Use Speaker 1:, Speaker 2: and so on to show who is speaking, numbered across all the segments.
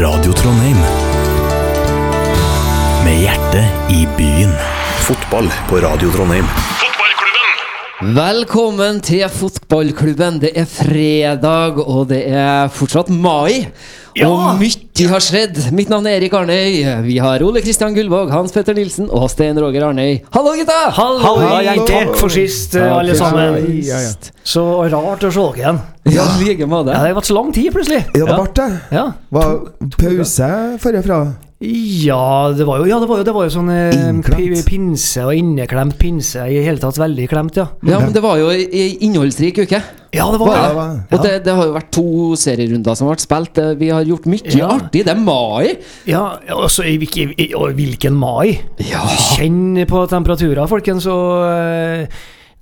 Speaker 1: Radio Trondheim. Med hjertet i byen. Fotball på Radio Trondheim.
Speaker 2: Velkommen til fotballklubben. Det er fredag, og det er fortsatt mai. Og mye har skjedd. Mitt navn er Erik Arnøy. Vi har Ole Kristian Gullvåg, Hans Petter Nilsen og Stein Roger Arnøy. Hallo, gutta!
Speaker 3: Hallo, takk for sist, eh, alle sammen.
Speaker 2: Ja, ja.
Speaker 3: Så rart å se dere igjen.
Speaker 2: Ja, i like måte.
Speaker 3: Ja, det har vært så lang tid, plutselig.
Speaker 4: Ja, det ble det.
Speaker 3: Ja,
Speaker 4: Var pause forrige fra?
Speaker 3: ja, det, var jo, ja det, var jo, det var jo sånn eh,
Speaker 4: Innklemt.
Speaker 3: pi- pinse og inneklemt pinse. I hele tatt veldig klemt, ja.
Speaker 2: Ja, men det var jo ei innholdsrik uke.
Speaker 3: Ja, det var
Speaker 2: Var
Speaker 4: Ja,
Speaker 3: det.
Speaker 4: det var-
Speaker 2: Og det, det har jo vært to serierunder som har vært spilt. Det- Vi har gjort mye
Speaker 3: Ja.
Speaker 2: artig. Det er mai.
Speaker 3: Ja, og så i, hvilke- i, og hvilken mai?
Speaker 2: Ja.
Speaker 3: Kjenn på temperaturer, folkens. Og eh,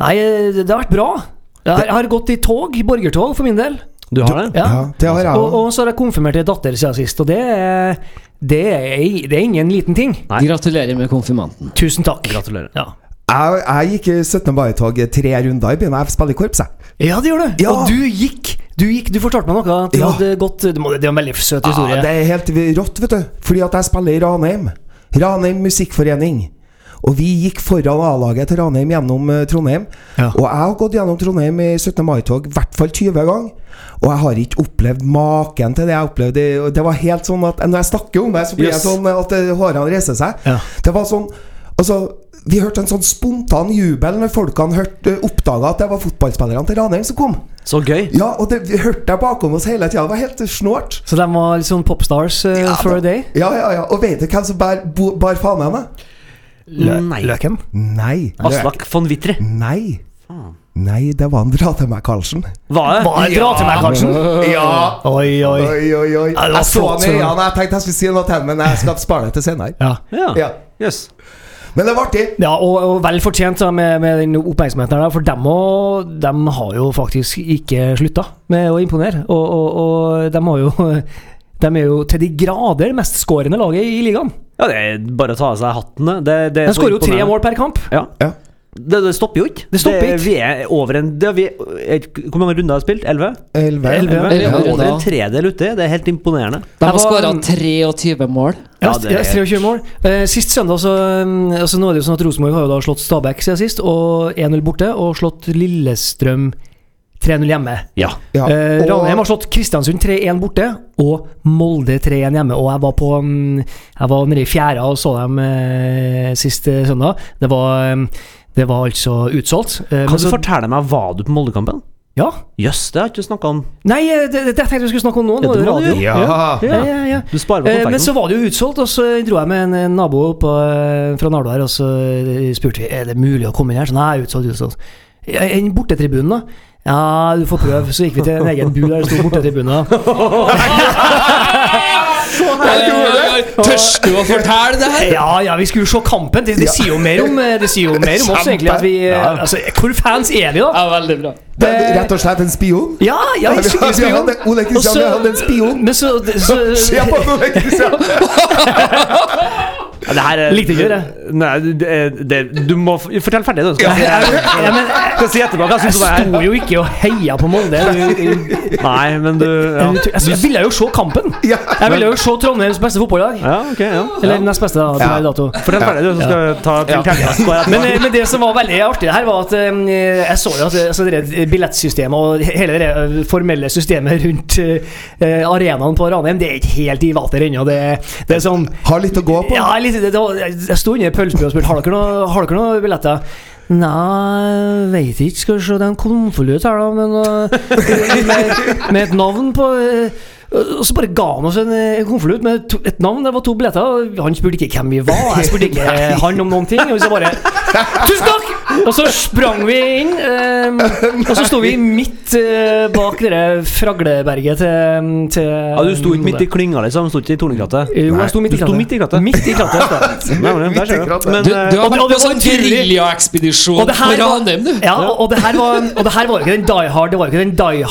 Speaker 3: Nei, det har vært bra. Jeg har, jeg har gått i tog, borgertog, for min del.
Speaker 5: Du har det?
Speaker 3: Ja.
Speaker 4: Ja, det har jeg
Speaker 3: Og,
Speaker 4: òg.
Speaker 3: og så har jeg konfirmert ei datter siden sist, og det er, det, er, det er ingen liten ting.
Speaker 5: Nei.
Speaker 2: Gratulerer med konfirmanten.
Speaker 3: Tusen takk.
Speaker 5: Gratulerer.
Speaker 3: Ja,
Speaker 4: Jeg, jeg gikk i 17. mai-tog tre runder i byen. Jeg spiller i korps, jeg.
Speaker 3: ja det gjør du.
Speaker 4: Ja.
Speaker 3: Og du gikk. Du gikk, du fortalte meg noe. At du
Speaker 4: Ja.
Speaker 3: hadde gått du må, Det er en veldig søt historie.
Speaker 4: Ja, det er helt rått, vet du. Fordi at jeg spiller i Ranheim. Ranheim musikkforening. Og vi gikk foran A-laget til Ranheim gjennom eh, Trondheim.
Speaker 3: Ja.
Speaker 4: Og jeg har gått gjennom Trondheim i 17. mai-tog i hvert fall 20 ganger. Og jeg har ikke opplevd maken til det jeg opplevde. Og Det var helt sånn at Når jeg snakker om det, så blir
Speaker 5: Yes.
Speaker 4: jeg sånn at eh, hårene reiser seg.
Speaker 3: Ja.
Speaker 4: Det var sånn Altså, vi hørte en sånn spontan jubel når folkene hørte, oppdaga at det var fotballspillerne til Ranheim som kom.
Speaker 5: Så gøy.
Speaker 4: Ja, og det vi hørte jeg bakom oss hele tida. Det var helt snålt.
Speaker 3: Så de var litt sånn popstars eh, for a day?
Speaker 4: Ja, ja, ja. Og vet du hvem som bær, bo, bar faen henne?
Speaker 5: Lø Nei.
Speaker 3: Løken?
Speaker 4: Nei.
Speaker 5: Aslak von Witre.
Speaker 4: Nei. Nei, det var en dra til meg, Karlsen.
Speaker 5: Hva er det?
Speaker 3: Bare dra til meg, Karlsen.
Speaker 4: Ja.
Speaker 3: Oi, oi.
Speaker 4: Oi, oi, oi.
Speaker 3: Ja, det var
Speaker 4: Jeg så
Speaker 3: flott,
Speaker 4: han i
Speaker 3: så-
Speaker 4: øynene. Jeg tenkte jeg skulle si noe til ham, men jeg skal spare det til senere.
Speaker 3: Ja.
Speaker 5: Ja.
Speaker 4: Ja.
Speaker 5: Yes.
Speaker 4: Men det var artig.
Speaker 3: Ja, og, og vel fortjent da, med, med den oppmerksomheten her, da, for dem, og, dem har jo faktisk ikke slutta med å imponere. Og, og, og dem har jo De er jo til de grader mestskårende laget i ligaen.
Speaker 5: Ja, det er bare å ta av seg hattene. Det, det er
Speaker 3: De
Speaker 5: så
Speaker 3: skårer jo tre
Speaker 5: imponerende.
Speaker 3: mål per kamp.
Speaker 5: Ja.
Speaker 4: Ja.
Speaker 5: Det, det stopper jo ikke.
Speaker 3: Det stopper ikke.
Speaker 5: Vi er over en det, er vi, er, Hvor mange runder har jeg spilt? Elleve?
Speaker 4: Elleve.
Speaker 3: Elleve.
Speaker 5: Vi er
Speaker 2: Elleve
Speaker 5: over
Speaker 2: runder.
Speaker 5: en tredel uti. Det er helt imponerende.
Speaker 2: De har
Speaker 3: var-
Speaker 2: skåra 23 mål.
Speaker 3: Ja,
Speaker 5: Ja, det er-
Speaker 3: s- 23 mål. Eh, sist søndag så um, altså Nå er det jo sånn at Rosenborg har jo da slått Stabæk siden sist, og 1-0 borte, og slått Lillestrøm 3-0 hjemme.
Speaker 5: Ja.
Speaker 4: Ja.
Speaker 3: Eh,
Speaker 4: og-
Speaker 3: Ranheim har slått Kristiansund 3-1 borte, og Molde 3-1 hjemme. Og jeg var på um, Jeg var nede i fjæra og så dem eh, sist eh, søndag. Det var um, det var altså utsolgt. Eh, men
Speaker 5: Kan du
Speaker 3: så-
Speaker 5: fortelle meg, var du på Moldekampen?
Speaker 3: Ja.
Speaker 5: Jøss, det har jeg ikke snakka om.
Speaker 3: Nei, eh, det, det, det tenkte jeg vi skulle snakke om nå.
Speaker 5: Ja,
Speaker 3: Nå er
Speaker 5: det
Speaker 3: det
Speaker 5: må du
Speaker 3: radio.
Speaker 5: jo.
Speaker 4: Ja.
Speaker 3: Ja, ja, ja.
Speaker 5: Du sparer meg
Speaker 3: Eh, men så
Speaker 5: konfekten.
Speaker 3: var det jo utsolgt, og så dro jeg med en, en nabo opp, eh, fra Nardo her, og så eh, spurte vi er det mulig å komme inn her. Så nei, utsolgt, utsolgt. Ja, enn bortetribunen, da? Ja, du får prøve. Så gikk vi til en egen bu der det sto bortetribunen. da.
Speaker 2: Tørste du å fortelle det her?
Speaker 3: Ja, ja, vi skulle jo se kampen. Det, det sier jo mer om, eh, det sier jo mer om oss, egentlig. At vi, eh, altså, hvor fans er vi, da?
Speaker 2: Ja, veldig bra.
Speaker 4: Det er Rett og slett en spion?
Speaker 3: Ja, ja, vi er
Speaker 4: Vi
Speaker 3: skikkelig
Speaker 4: hadde-
Speaker 3: spion.
Speaker 4: Ole
Speaker 3: Og
Speaker 4: Kristian, vi hadde en spion.
Speaker 3: Men så, så
Speaker 4: Se på han, Ole Kristian!
Speaker 5: Ja, det her er-
Speaker 3: Likte ikke det.
Speaker 5: Nei, det, det, du må f- Fortell ferdig, du. Skal jeg
Speaker 3: ja, men,
Speaker 5: skal jeg si etterpå hva jeg
Speaker 3: jeg
Speaker 5: syns om det her.
Speaker 3: sto jo ikke og heia på Molde. Du-
Speaker 5: Nei, men du ja.
Speaker 3: Jeg, altså, jeg ville jo se kampen!
Speaker 4: Ja.
Speaker 3: Jeg ville jo se Trondheims beste fotballag.
Speaker 5: ja, ok, ja.
Speaker 3: Eller nest beste, da. til
Speaker 4: Ja.
Speaker 3: hver dato.
Speaker 5: Fortell ferdig, du, så skal jeg ta til terningkast.
Speaker 3: Men, eh, men det som var veldig artig her, var at eh, jeg så jo at eh, altså, det der billettsystemet og hele det eh, formelle systemet rundt eh, eh, arenaen på Ranheim, det er ikke helt i vater ennå. Det, det er sånn
Speaker 4: Har litt å gå på.
Speaker 3: ja, litt, det, det var, Jeg sto under pølsebrød og spurte Har dere noe- har dere noen billetter. Nei, veit ikke. Skal vi se, det er en konvolutt her, da, men eh, med, med et navn på eh, og så bare ga han oss en, eh, en konvolutt med to, et navn. Det var to billetter. og Han spurte ikke hvem vi var. Jeg spurte ikke eh, han om noen ting. Og så bare Tusen takk! Og så sprang vi inn. eh, og så sto vi midt eh, bak det der fragleberget til, til
Speaker 5: Ja, Du sto ikke midt i klinga, liksom? Sto ikke i tornekrattet?
Speaker 3: Jo, jeg sto midt i
Speaker 5: Du sto
Speaker 3: krattet.
Speaker 5: midt i krattet.
Speaker 3: Midt i krattet.
Speaker 5: Nei, men der ser du.
Speaker 4: krattet.
Speaker 5: Men,
Speaker 2: Du, du
Speaker 5: eh,
Speaker 2: har
Speaker 3: og det- og
Speaker 2: vært
Speaker 3: det
Speaker 2: på
Speaker 3: var
Speaker 2: sånn
Speaker 3: tydelig-
Speaker 2: geriljaekspedisjon
Speaker 3: Og det her
Speaker 2: med
Speaker 3: var,
Speaker 2: Ranheim, du.
Speaker 3: ja, og- og det her var, og det her var ikke den Die Hard Det var ikke den Die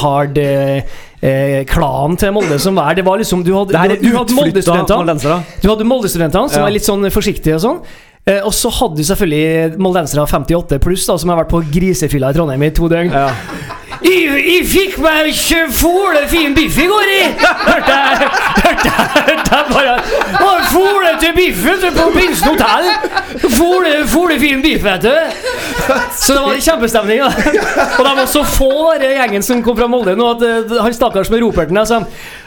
Speaker 3: Hard-klanen til Molde som var her. Det var liksom, du hadde,
Speaker 5: det her
Speaker 3: du, du
Speaker 5: er
Speaker 3: hadde
Speaker 5: utflytta
Speaker 3: Molde-studentene
Speaker 5: moldensere.
Speaker 3: Du hadde Molde-studentene som
Speaker 5: Ja.
Speaker 3: var litt sånn forsiktige og sånn. Eh, og så hadde du selvfølgelig moldensere 58 pluss, da, som har vært på grisefylla i Trondheim i to døgn.
Speaker 5: Ja.
Speaker 3: Jeg, jeg fikk meg ikke fole fin biff i går, jeg! Hørte jeg hørte jeg, hørte jeg bare Og fole til biff vet du, på Prinsen hotell! Fole, fole fin biff, vet du! Så det var kjempestemning. da Og de var så få, den gjengen som kom fra Molde nå, at eh, han stakkars med roperten der, så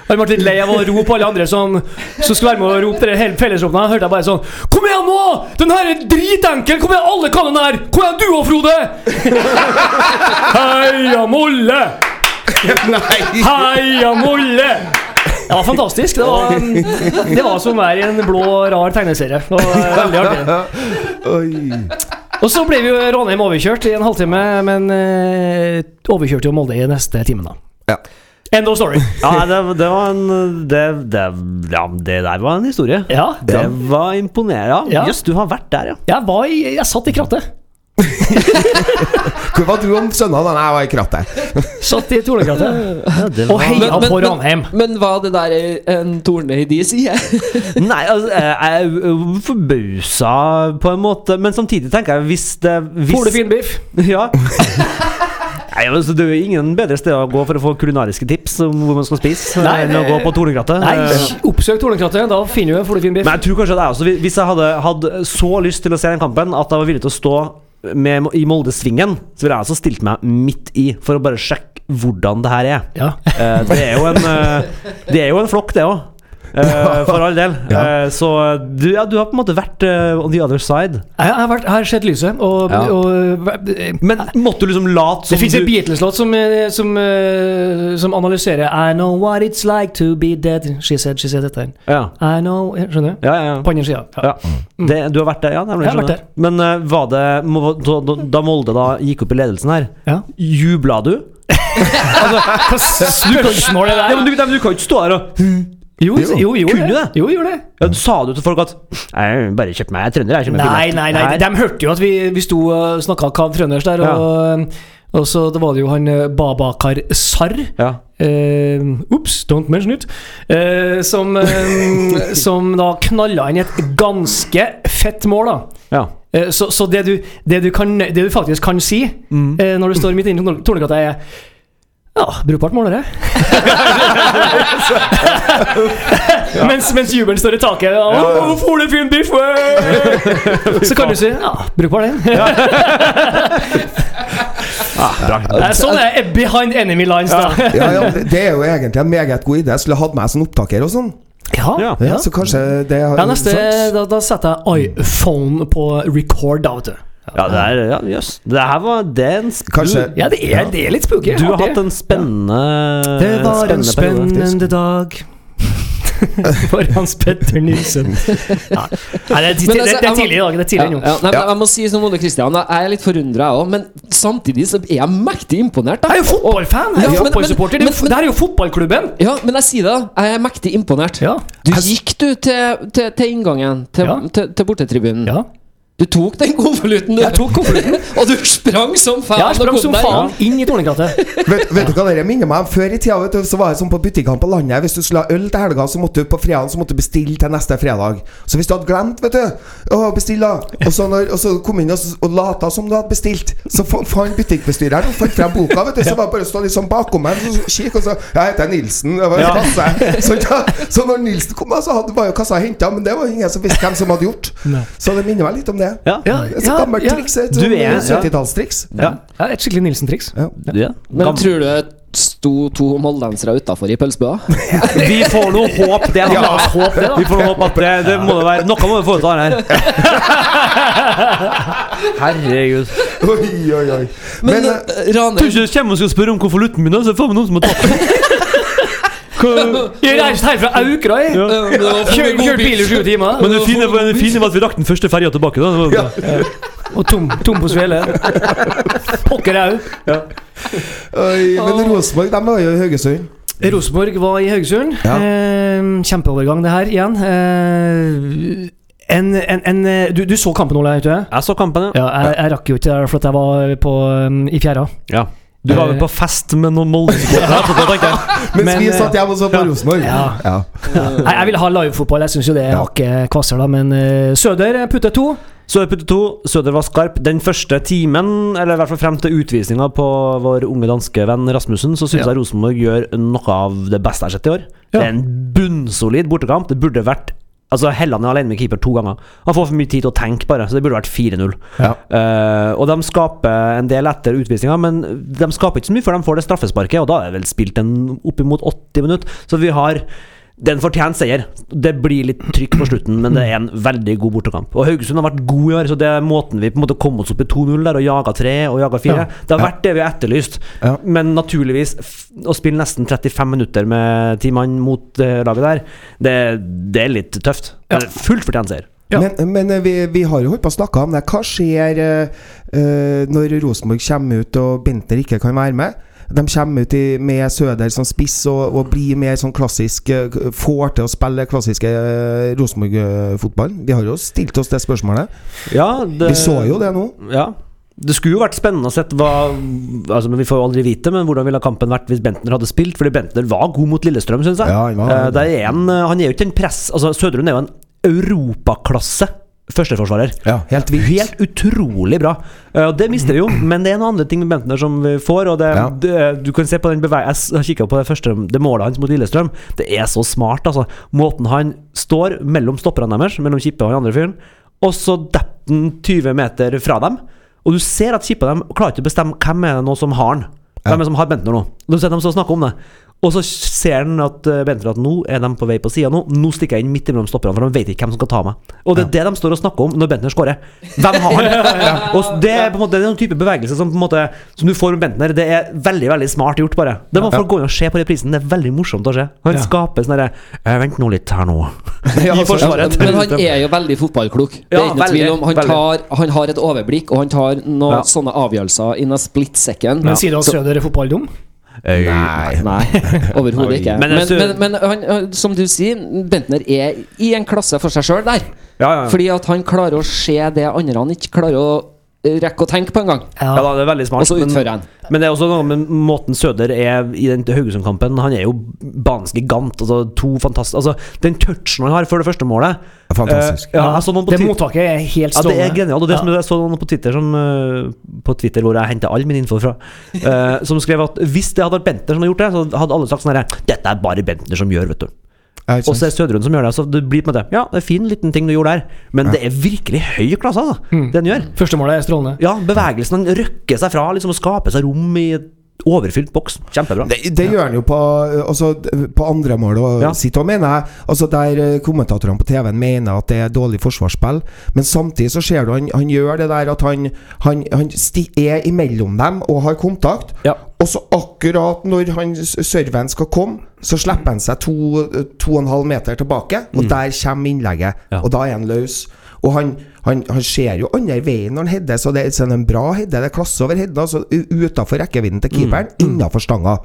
Speaker 3: han ble litt lei av å rope alle andre som, som skulle være med og rope det hele fellesropen. Han hørte jeg bare sånn Kom igjen nå! Den her er dritenkel! Kom igjen, alle kan den her! Kom igjen, du òg, Frode! Heia Molle!
Speaker 4: Nei!
Speaker 3: Heia Molle! Det var fantastisk. Det var, det var som å være i en blå, rar tegneserie. eh, Det var veldig artig.
Speaker 4: Oi.
Speaker 3: Og så ble vi jo Ranheim overkjørt i en halvtime, men eh, overkjørte jo Molde i neste time, da.
Speaker 4: Ja.
Speaker 3: End of story.
Speaker 5: Ja, det, det var en det, det, ja, det der var en historie.
Speaker 3: Ja.
Speaker 5: Det var imponerende.
Speaker 3: Ja.
Speaker 5: Ja. Jøss, du har vært der, ja.
Speaker 3: Jeg, var i, jeg satt i krattet.
Speaker 4: Hvor var du om søndagen? Nei, jeg var i krattet.
Speaker 3: Satt i tornekrattet.
Speaker 5: ja det
Speaker 3: Og
Speaker 5: var...
Speaker 3: heia
Speaker 2: Men- men-
Speaker 3: på
Speaker 2: men-
Speaker 3: Ranheim.
Speaker 2: Men var det der eh, en torne i de sider?
Speaker 5: Nei, altså, jeg er forbausa på en måte, men samtidig tenker jeg hvis det hvis...
Speaker 3: Får du fin biff?
Speaker 5: Ja. Nei, altså, Det er jo ingen bedre steder å gå for å få kulinariske tips om hvor man skal spise,
Speaker 3: Nei,
Speaker 5: enn å gå på Tornekrattet. Eh,
Speaker 3: Nei, oppsøk tornekrattet. Da finner du en får du fin biff.
Speaker 5: Men jeg tror kanskje det er også Hvis jeg hadde hatt så lyst til å se den kampen at jeg var villig til å stå med, i Moldesvingen, så ville jeg også stilt meg midt i for å bare sjekke hvordan det her er.
Speaker 3: Ja.
Speaker 5: Eh, Det er jo en, eh, det er jo en flokk, det òg. for all del. Eh, så du, ja, du har på en måte vært eh, on the other side.
Speaker 3: Jeg har, vært, jeg har sett lyset, og,
Speaker 5: Ja.
Speaker 3: og
Speaker 5: Men måtte du liksom late som
Speaker 3: Det fins
Speaker 5: du
Speaker 3: en Beatles-låt som, eh, som, eh, som analyserer I know what it's like to be dead. She said, she said dette.
Speaker 5: Ja,
Speaker 3: I know Skjønner du?
Speaker 5: ja, ja. ja.
Speaker 3: På andre sida. Ja.
Speaker 5: Ja. Det, du har vært der, ja? Nemlig,
Speaker 3: Jeg har vært
Speaker 5: skjønner. Men eh, var det må- da, da- da Molde da gikk opp i ledelsen her,
Speaker 3: Ja.
Speaker 5: jubla du?
Speaker 3: Hva spørsmål er
Speaker 5: Ja, men du, du kan jo ikke stå her og
Speaker 3: Jo, jo, jo, jo,
Speaker 5: Kunne du det?
Speaker 3: jo, gjorde det.
Speaker 5: ja, Sa du til folk at Jeg bare kjøpte meg jeg er trønder, jeg. kjøper meg
Speaker 3: Nei,
Speaker 5: billett
Speaker 3: nei, nei.
Speaker 5: her».
Speaker 3: De, de hørte jo at vi, vi sto og snakka kav trøndersk der, og, og så det var det jo han eh, Babakar Sarr.
Speaker 5: ja.
Speaker 3: Eh, Ops, don't mention it. Eh, som, eh, som da knalla inn et ganske fett mål, da.
Speaker 5: ja.
Speaker 3: Eh, Så, så det, du, det, du kan, det du faktisk kan si eh, når du står midt inne i Tornekrattet, er Ja, brukbart mål, det. mens, mens jubelen står i taket. «Å, får du fin biff?» eh!» Så kan du si Ja, brukbar, det.
Speaker 5: Ah, Bra.
Speaker 3: Eh, sånn er det behind enemy lines, da.
Speaker 4: Ja, ja, det det er jo egentlig en meget god idé. Jeg skulle hatt meg som opptaker og sånn.
Speaker 5: Ja. Sånn.
Speaker 3: Ja,
Speaker 4: Ja, så kanskje det har
Speaker 3: Ja, neste,
Speaker 4: sant?
Speaker 3: da, da setter jeg iPhone på record, da, vet du.
Speaker 5: ja, det er ja, Jøss. Det her var det er en sp-
Speaker 4: Kanskje
Speaker 3: Ja, det er, det er litt spooky.
Speaker 5: Du har
Speaker 3: artig.
Speaker 5: hatt en spennende
Speaker 3: Det var en
Speaker 5: periode.
Speaker 3: spennende dag for Hans Petter Nilsen. Ja. Nei, det, er, det,
Speaker 2: Men altså,
Speaker 3: det, det
Speaker 2: jeg
Speaker 3: er
Speaker 2: må-
Speaker 3: tidlig i dag. Det er
Speaker 2: Ja,
Speaker 3: tidlig
Speaker 2: ja.
Speaker 3: nå.
Speaker 2: Nei, men jeg må si som Ole Kristian, jeg er litt forundra, jeg òg. Men samtidig så er jeg mektig imponert. da.
Speaker 3: Jeg er jo fotballfan!
Speaker 2: Ja,
Speaker 3: Jeg er
Speaker 2: men-
Speaker 3: jo fotballsupporter. Det er
Speaker 2: men-
Speaker 3: jo f- Det her er jo fotballklubben!
Speaker 2: Ja, men jeg sier det, da. Jeg er mektig imponert.
Speaker 3: Ja.
Speaker 2: Du gikk, du, til, til, til inngangen. Til,
Speaker 3: Ja.
Speaker 2: til, til bortetribunen.
Speaker 3: Ja.
Speaker 2: Du tok den konvolutten, du.
Speaker 3: Jeg tok konvolutten.
Speaker 2: og du sprang som faen.
Speaker 3: Jeg
Speaker 2: og
Speaker 3: sprang
Speaker 2: kom
Speaker 3: som
Speaker 2: deg-
Speaker 3: faen inn i Tornekrattet.
Speaker 4: Vet, vet du hva dere minner meg om? Før i tida vet du, så var det sånn på butikkene på landet. Hvis du skulle ha øl til helga, så måtte du på fredagen så måtte du bestille til neste fredag. Så hvis du hadde glemt vet du å bestille, da, og så, når, og så kom inn og, s- og lata som du hadde bestilt, så fa- fant butikkbestyreren og fant frem boka. vet du Så var det bare å stå litt sånn bakom meg og kikke, og så Jeg heter Nilsen. Det var
Speaker 5: Ja.
Speaker 4: kasse. Så, da, så når Nilsen kom, da, så hadde, var jo kassa henta, men det var ingen som visste hvem som hadde gjort. Så det minner meg litt om det.
Speaker 5: Ja.
Speaker 3: Ja,
Speaker 4: Det er Et sånt gammelt triks. Et
Speaker 5: Du
Speaker 4: sånt,
Speaker 5: er- ja.
Speaker 4: eh, 70-tallstriks.
Speaker 5: Ja.
Speaker 3: Ja, et skikkelig Nilsen-triks.
Speaker 4: Ja.
Speaker 5: Ja.
Speaker 2: Men
Speaker 5: Gam-
Speaker 2: tror du det sto to moldensere utafor i pølsebua?
Speaker 5: Vi får noe håp, det. da. La oss håpe det, da. Vi får noe håp at det, det må det være Noe må vi foreta her. Herregud.
Speaker 4: Oi, oi, oi.
Speaker 2: Men,
Speaker 4: Men, eh,
Speaker 2: eh, Ranheim
Speaker 5: Kanskje du kommer og skal spørre om konvolutten min, da, så er det faen meg noen som har tatt den.
Speaker 3: Jeg reiste herfra Aukra, jeg.
Speaker 5: Ja.
Speaker 2: Eh, det var for
Speaker 3: Kjør-
Speaker 2: god
Speaker 3: Kjørte bil i
Speaker 2: biff.
Speaker 3: sju timer.
Speaker 5: Men det fine, det fine var at vi rakk den første ferja tilbake. Da. Det var bra.
Speaker 3: Og tom, tom på svele. Pokker au.
Speaker 4: Oi, men Rosenborg, de var jo i Haugesund.
Speaker 3: Rosenborg var i Haugesund.
Speaker 4: Ja.
Speaker 3: Eh, kjempeovergang, det her, igjen. Eh, en, en, en, eh, du, du så kampen, Ole? Vet du? det?
Speaker 5: Jeg så kampen, ja.
Speaker 3: Ja, jeg, jeg rakk jo ikke det, for at jeg var på, um, i fjæra.
Speaker 5: ja. Du var vel på fest med noen Molde-supportere etterpå, tenkte jeg.
Speaker 4: Eh. Mens
Speaker 3: Men,
Speaker 4: vi
Speaker 3: eh,
Speaker 4: satt hjemme og så på
Speaker 5: ja.
Speaker 4: Rosenborg.
Speaker 3: Ja.
Speaker 4: Ja.
Speaker 5: Mm.
Speaker 3: Jeg, jeg ville ha livefotball, jeg syns jo det er hakket kvasser, da. Men eh, Søder putter to.
Speaker 5: Søderpute 2, Søder var skarp. Den første timen, eller i hvert fall frem til utvisninga på vår unge danske venn Rasmussen, så syns
Speaker 6: Ja.
Speaker 5: jeg Rosenborg gjør noe av det beste jeg har sett i år. Det er en bunnsolid bortekamp. Det burde vært Altså, Helland er alene med keeper to ganger. Han får for mye tid til å tenke, bare, så det burde vært 4-0.
Speaker 6: Ja.
Speaker 5: Eh, og de skaper en del etter utvisninga, men de skaper ikke så mye før de får det straffesparket, og da er det vel spilt en oppimot 80 minutter. Så vi har det er en fortjent seier. Det blir litt trykk på slutten, men det er en veldig god bortekamp. Og Haugesund har vært god i år, så det er måten vi på en måte kom oss opp i 2-0 der, og jaga 3 og jaga 4.
Speaker 6: Ja.
Speaker 5: Det har vært det vi har etterlyst.
Speaker 6: Ja.
Speaker 5: Men naturligvis, f- å spille nesten 35 minutter med ti mann mot eh, laget der, det, det er litt tøft.
Speaker 6: Ja.
Speaker 5: Det er fullt fortjent seier.
Speaker 6: Ja.
Speaker 4: Men, men eh, vi, vi har jo holdt på å snakke om det. Hva skjer eh, eh, når Rosenborg kommer ut og Bentner ikke kan være med? De kommer ut i, med Søder som spiss og, og blir mer sånn klassisk eh, k- Får til å spille klassiske eh, Rosenborg-fotballen. Vi har jo stilt oss det spørsmålet.
Speaker 5: Ja, det,
Speaker 4: Vi så jo det nå.
Speaker 5: Ja. Det skulle jo vært spennende å sett hva altså, men Vi får jo aldri vite, men hvordan ville kampen vært hvis Bentner hadde spilt? Fordi Bentner var god mot Lillestrøm, syns jeg.
Speaker 4: Ja, han var-
Speaker 5: Eh, der er en, han er jo ikke en press Altså, Sødrun er jo en europaklasse førsteforsvarer.
Speaker 4: Ja, helt vilt.
Speaker 5: Helt utrolig bra. Eh, Og det mister vi jo, men det er noen andre ting med Bentner som vi får. Og det,
Speaker 4: Ja.
Speaker 5: det, du kan se på den beveg... Jeg s- har kikket på det første Det målet hans mot Lillestrøm. Det er så smart, altså. Måten han står mellom stopperne deres, mellom Kippe og den andre fyren, og så detter han 20 meter fra dem. Og du ser at Kippe og dem klarer ikke å bestemme hvem er det nå som har han. Hvem er det som har Bentner nå? Du ser dem så snakke om det. Og så ser han at eh, Bentner at nå er de på vei på sida nå. Nå stikker jeg inn midt imellom stopperne, for de vet ikke hvem som skal ta meg. Og det er det de står og snakker om når Bentner scorer. Hvem har han? Og det er på en måte det er en type bevegelse som, på en måte, som du får med Bentner. Det er veldig veldig smart gjort, bare. Det må folk gå inn og se på reprisen. Det er veldig morsomt å se. Han skaper sånn derre «Eh, Vent nå litt her nå. I forsvaret.
Speaker 2: Men han er jo veldig fotballklok. Det er
Speaker 5: Ja,
Speaker 2: ikke noe tvil
Speaker 5: veldig,
Speaker 2: om han,
Speaker 5: veldig.
Speaker 2: tar, han har et overblikk, og han tar noen
Speaker 5: Ja.
Speaker 2: sånne avgjørelser in a split second.
Speaker 3: Men sier du at Søder er fotballdum?
Speaker 5: Eh, Nei.
Speaker 2: Nei, overhodet ikke.
Speaker 5: Men
Speaker 2: Men,
Speaker 5: jeg
Speaker 2: men,
Speaker 5: synes-
Speaker 2: men han, øh, som du sier, Bentner er i en klasse for seg sjøl der.
Speaker 5: Ja, ja, ja.
Speaker 2: Fordi at han klarer å se det andre han ikke klarer å øh, rekke å tenke på engang.
Speaker 5: Ja, da, det er veldig smart.
Speaker 2: Og så
Speaker 5: men-
Speaker 2: utfører han.
Speaker 5: Men det er også noe med måten Søder er i den Haugesund-kampen. Han er jo banens gigant. Altså, to fantastiske Altså, den touchen han har før det første målet
Speaker 4: Fantastisk.
Speaker 5: Eh, ja, jeg så noen på
Speaker 3: Det
Speaker 5: Twitter-
Speaker 3: mottaket er helt
Speaker 5: ja, det
Speaker 3: strålende.
Speaker 5: er genialt. Og det
Speaker 3: Ja.
Speaker 5: som jeg så noen på Twitter som eh, På Twitter hvor jeg henter all min info fra, eh, som skrev at hvis det hadde vært Bentner som hadde gjort det, så hadde alle sagt sånn herre Dette er bare Bentner som gjør, vet du.
Speaker 4: Ja, ikke
Speaker 5: Og så
Speaker 4: sant?
Speaker 5: er det Søderund som gjør det. Så det blir på en måte Ja, det er fin liten ting du gjorde der, men det er virkelig høy klasse, altså. Det han gjør.
Speaker 3: Første målet er strålende.
Speaker 5: Ja, bevegelsen. Han røkker seg fra liksom, og skaper seg rom i et overfylt boks. Kjempebra.
Speaker 4: Det, det gjør han jo på, eh, altså, d- på andre mål og
Speaker 5: Ja.
Speaker 4: sitt òg, mener jeg. Altså Der eh, kommentatorene på TV-en mener at det er dårlig forsvarsspill. Men samtidig så ser du han, han gjør det der at han, han, han sti er imellom dem og har kontakt.
Speaker 5: Ja.
Speaker 4: Og så akkurat når han s- serven skal komme, så slipper han seg to, to og en halv meter tilbake. Og der kommer innlegget.
Speaker 5: Mm. Ja.
Speaker 4: Og da er han løs. Og han, han, han ser jo andre veien når han header, så det er sånn en bra header. Det er klasse over headen. Altså utafor rekkevidden til keeperen,
Speaker 5: Mm.
Speaker 4: innafor stanga.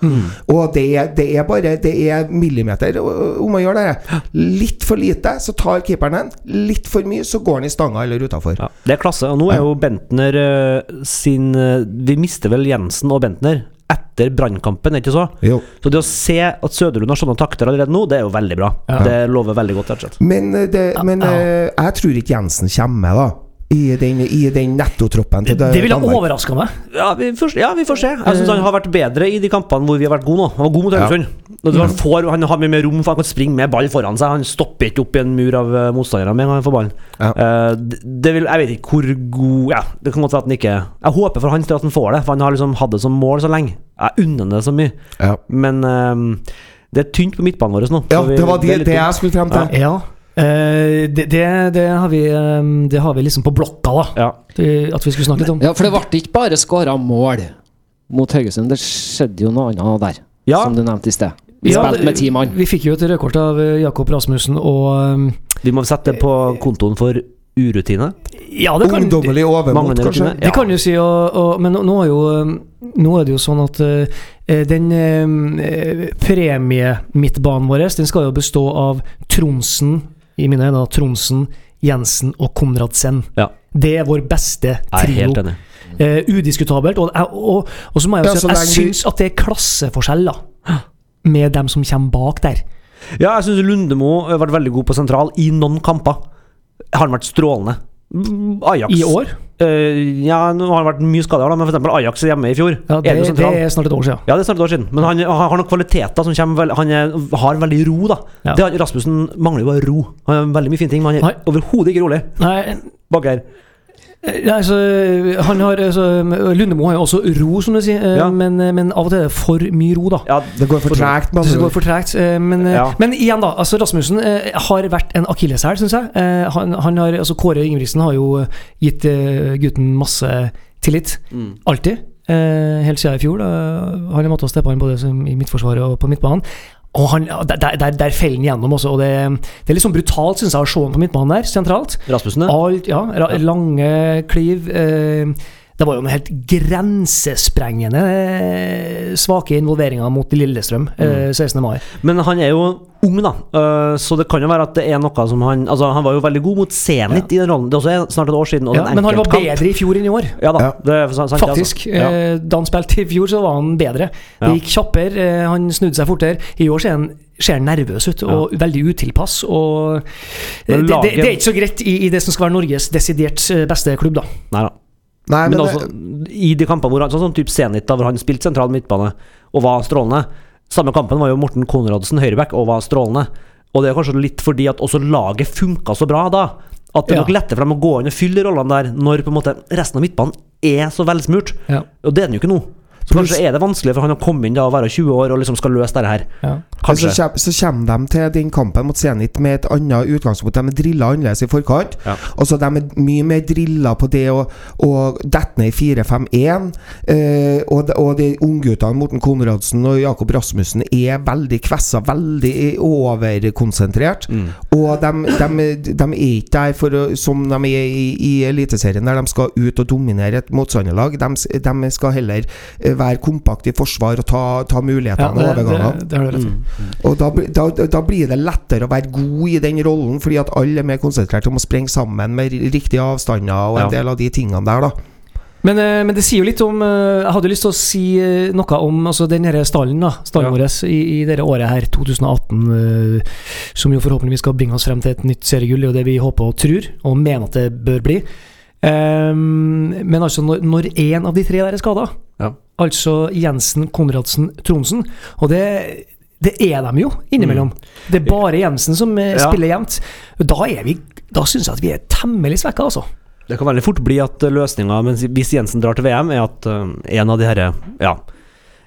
Speaker 4: Og det, er- det er bare Det er millimeter ø- ø- om å gjøre det. Litt for lite, så tar keeperen den. Litt for mye, så går han i stanga eller utafor.
Speaker 5: Ja, det er klasse. Og nå er jo Bentner eh, sin eh, Vi mister vel Jensen og Bentner etter Brannkampen, er det ikke så?
Speaker 4: Jo.
Speaker 5: Så det å se at Søderlund har sånne takter allerede nå, det er jo veldig bra. Det lover veldig godt, rett og slett.
Speaker 4: Men, eh, det, men eh, jeg tror ikke Jensen kommer med, da. I den, i den nettotroppen til
Speaker 3: Det ville
Speaker 4: Danmark.
Speaker 3: overraska meg.
Speaker 5: Ja, vi får, ja, vi får se. Jeg syns han har vært bedre i de kampene hvor vi har vært gode nå. Han var god mot Haugesund. Og Han, får, han har mye mer rom, for han kan springe med ball foran seg. Han stopper ikke opp i en mur av eh, motstandere med en gang han får ballen.
Speaker 4: Ja.
Speaker 5: Eh, det, det vil, jeg vet ikke hvor god ja, Det kan godt være at han ikke Jeg håper for hans del at han får det, for han har liksom hatt det som mål så lenge. Jeg unner han det så mye.
Speaker 4: Ja.
Speaker 5: Men eh, det er tynt på midtbanen vår nå.
Speaker 4: Ja,
Speaker 5: Så vi-
Speaker 4: det var det,
Speaker 5: er litt
Speaker 4: det
Speaker 5: tynt.
Speaker 4: jeg skulle frem til.
Speaker 3: Ja. Eh, det, det, det, har vi, eh, det har vi liksom på blokka, da.
Speaker 5: ja.
Speaker 3: Det- At vi skulle snakke litt om.
Speaker 2: Ja, for det ble ikke bare skåra mål mot Haugesund. Det skjedde jo noe annet der,
Speaker 5: Ja.
Speaker 2: som du nevnte i sted. Vi
Speaker 3: Ja, det-
Speaker 2: spilte med ti mann.
Speaker 3: Vi fikk jo et rødkort av eh, Jakob Rasmussen og eh,
Speaker 5: Vi må sette det på kontoen for urutine.
Speaker 3: Ja, det kan,
Speaker 4: Ungdommelig overmot,
Speaker 5: Manglende
Speaker 4: kanskje.
Speaker 5: rutine.
Speaker 3: Det kan du si, og, og, men nå- nå er, jo, eh, nå er det jo sånn at eh, den eh, premiemidtbanen vår den skal jo bestå av Tronsen, i mine øyne, da, Tronsen, Jensen og Konradsen.
Speaker 5: Ja,
Speaker 3: Det er vår beste
Speaker 5: jeg er helt
Speaker 3: trio.
Speaker 5: enig.
Speaker 3: Eh, udiskutabelt. Og, og, og, og så må jeg
Speaker 4: Ja,
Speaker 3: jo si
Speaker 4: så
Speaker 3: at jeg
Speaker 4: lenge du-
Speaker 3: syns at det er klasseforskjell da, med dem som kommer bak der.
Speaker 5: Ja, jeg syns Lundemo har vært veldig god på sentral i noen kamper. Har han vært strålende. Mm, Ajax.
Speaker 3: I år?
Speaker 5: Eh, ja, nå har han vært mye skada, men for eksempel Ajax hjemme i fjor.
Speaker 3: Ja, det,
Speaker 5: er jo
Speaker 3: det
Speaker 5: sentral.
Speaker 3: er snart et år siden.
Speaker 5: Ja, det er snart et år siden. Men han, han har noen kvaliteter som kommer vel- Han er, har veldig ro, da.
Speaker 3: Ja.
Speaker 5: Det har, Rasmussen mangler jo bare ro. Han har veldig mye fine ting, men han
Speaker 3: Nei.
Speaker 5: er overhodet ikke rolig.
Speaker 3: Nei,
Speaker 5: Bak her.
Speaker 3: Nei, altså, han har, altså, Lundemo har jo også ro, som du sier, eh,
Speaker 5: Ja.
Speaker 3: men, men av og til er det for mye ro, da.
Speaker 5: Ja,
Speaker 4: Det går for tregt,
Speaker 3: Det
Speaker 4: mann.
Speaker 3: går for tregt. eh, Men, eh,
Speaker 5: Ja.
Speaker 3: men igjen, da. altså Rasmussen eh, har vært en akilleshæl, syns jeg. Eh, Han, han har, altså Kåre Ingebrigtsen har jo eh, gitt eh, gutten masse tillit.
Speaker 5: Mm.
Speaker 3: Alltid. Eh, Helt siden i fjor. Da. Han har måttet steppe inn både som i Midtforsvaret og på midtbanen. Og han, ja, der, der, der feller han gjennom, også. Og det, det er litt sånn brutalt, syns jeg, å se ham på midtbanen der, sentralt.
Speaker 5: Rasmussen, ja.
Speaker 3: Alt, ja, ra- Lange kliv. Eh, det var jo noen helt grensesprengende eh, svake involveringer mot Lillestrøm
Speaker 5: Mm.
Speaker 3: eh, 16. mai.
Speaker 5: Men han er jo ung, da, Eh, så det kan jo være at det er noe som han Altså, han var jo veldig god mot Zenit i den rollen. Det er også en- snart et år siden. Og
Speaker 3: Ja,
Speaker 5: en
Speaker 3: men han var
Speaker 5: enkeltkamp.
Speaker 3: bedre i fjor enn i år.
Speaker 5: Ja da,
Speaker 4: Ja.
Speaker 5: det er sant, sant,
Speaker 3: Faktisk.
Speaker 5: Altså. Ja.
Speaker 3: Eh, da han spilte i fjor, så var han bedre. Det
Speaker 5: Ja.
Speaker 3: gikk kjappere, eh, han snudde seg fortere. I år ser han, ser han nervøs ut, og veldig utilpass. Og eh, det,
Speaker 5: Men
Speaker 3: det, det,
Speaker 5: laget-
Speaker 3: er ikke så greit i, i det som skal være Norges desidert eh, beste klubb, da.
Speaker 5: Nei da.
Speaker 4: Nei,
Speaker 5: Men,
Speaker 4: men
Speaker 5: altså, i de kampene hvor han Sånn som typ Zenit, da, hvor han spilte sentral midtbane og var strålende. Samme kampen var jo Morten Konradsen høyreback og var strålende. Og det er kanskje litt fordi at også laget funka så bra da. At det
Speaker 3: Ja.
Speaker 5: er nok lettere for dem å gå inn og fylle de rollene der, når på en måte resten av midtbanen er så velsmurt.
Speaker 3: Ja.
Speaker 5: Og det er den jo ikke nå. Så kanskje er det vanskelig for han å komme inn da og være 20 år og liksom skal løse dette her.
Speaker 4: Men så,
Speaker 5: Kanskje.
Speaker 4: kjem- så kommer de til den kampen mot Zenit med et annet utgangspunkt. De er drilla annerledes i forkant.
Speaker 5: Ja.
Speaker 4: Altså, de er mye mer drilla på det å, å dette ned i 4-5-1. Eh, og, de- og de ungguttene Morten Konradsen og Jakob Rasmussen er veldig kvessa, veldig overkonsentrert.
Speaker 5: Mm.
Speaker 4: Og de, de, de er ikke der for å, som de er i, i Eliteserien, der de skal ut og dominere et motstanderlag. De, s- de skal heller eh, være kompakt i forsvar og ta, ta
Speaker 3: Ja,
Speaker 4: mulighetene
Speaker 3: det,
Speaker 4: og
Speaker 3: det, det
Speaker 4: overgangene.
Speaker 3: har du rett i.
Speaker 4: Og da, bli- da, da blir det lettere å være god i den rollen, fordi at alle er mer konsentrert om å sprenge sammen med ri- riktige avstander og en
Speaker 5: Ja.
Speaker 4: del av de tingene der, da.
Speaker 3: Men, eh, men det sier jo litt om eh, Jeg hadde lyst til å si eh, noe om altså, den denne stallen, da, stallen vår i, i dette året her, 2018, eh, som jo forhåpentligvis skal bringe oss frem til et nytt seriegull. Det er jo det vi håper og tror, og mener at det bør bli. Eh, men altså, når- når én av de tre der er skada,
Speaker 5: Ja.
Speaker 3: altså Jensen, Konradsen, Tronsen Og det, det er de jo, innimellom. Det er bare Jensen som eh,
Speaker 5: Mm. Ja.
Speaker 3: spiller jevnt. Da, er vi- da syns jeg at vi er temmelig svekka, altså.
Speaker 5: Det kan veldig fort bli at løsninga mens hvis Jensen drar til VM, er at eh, en av de herre Ja,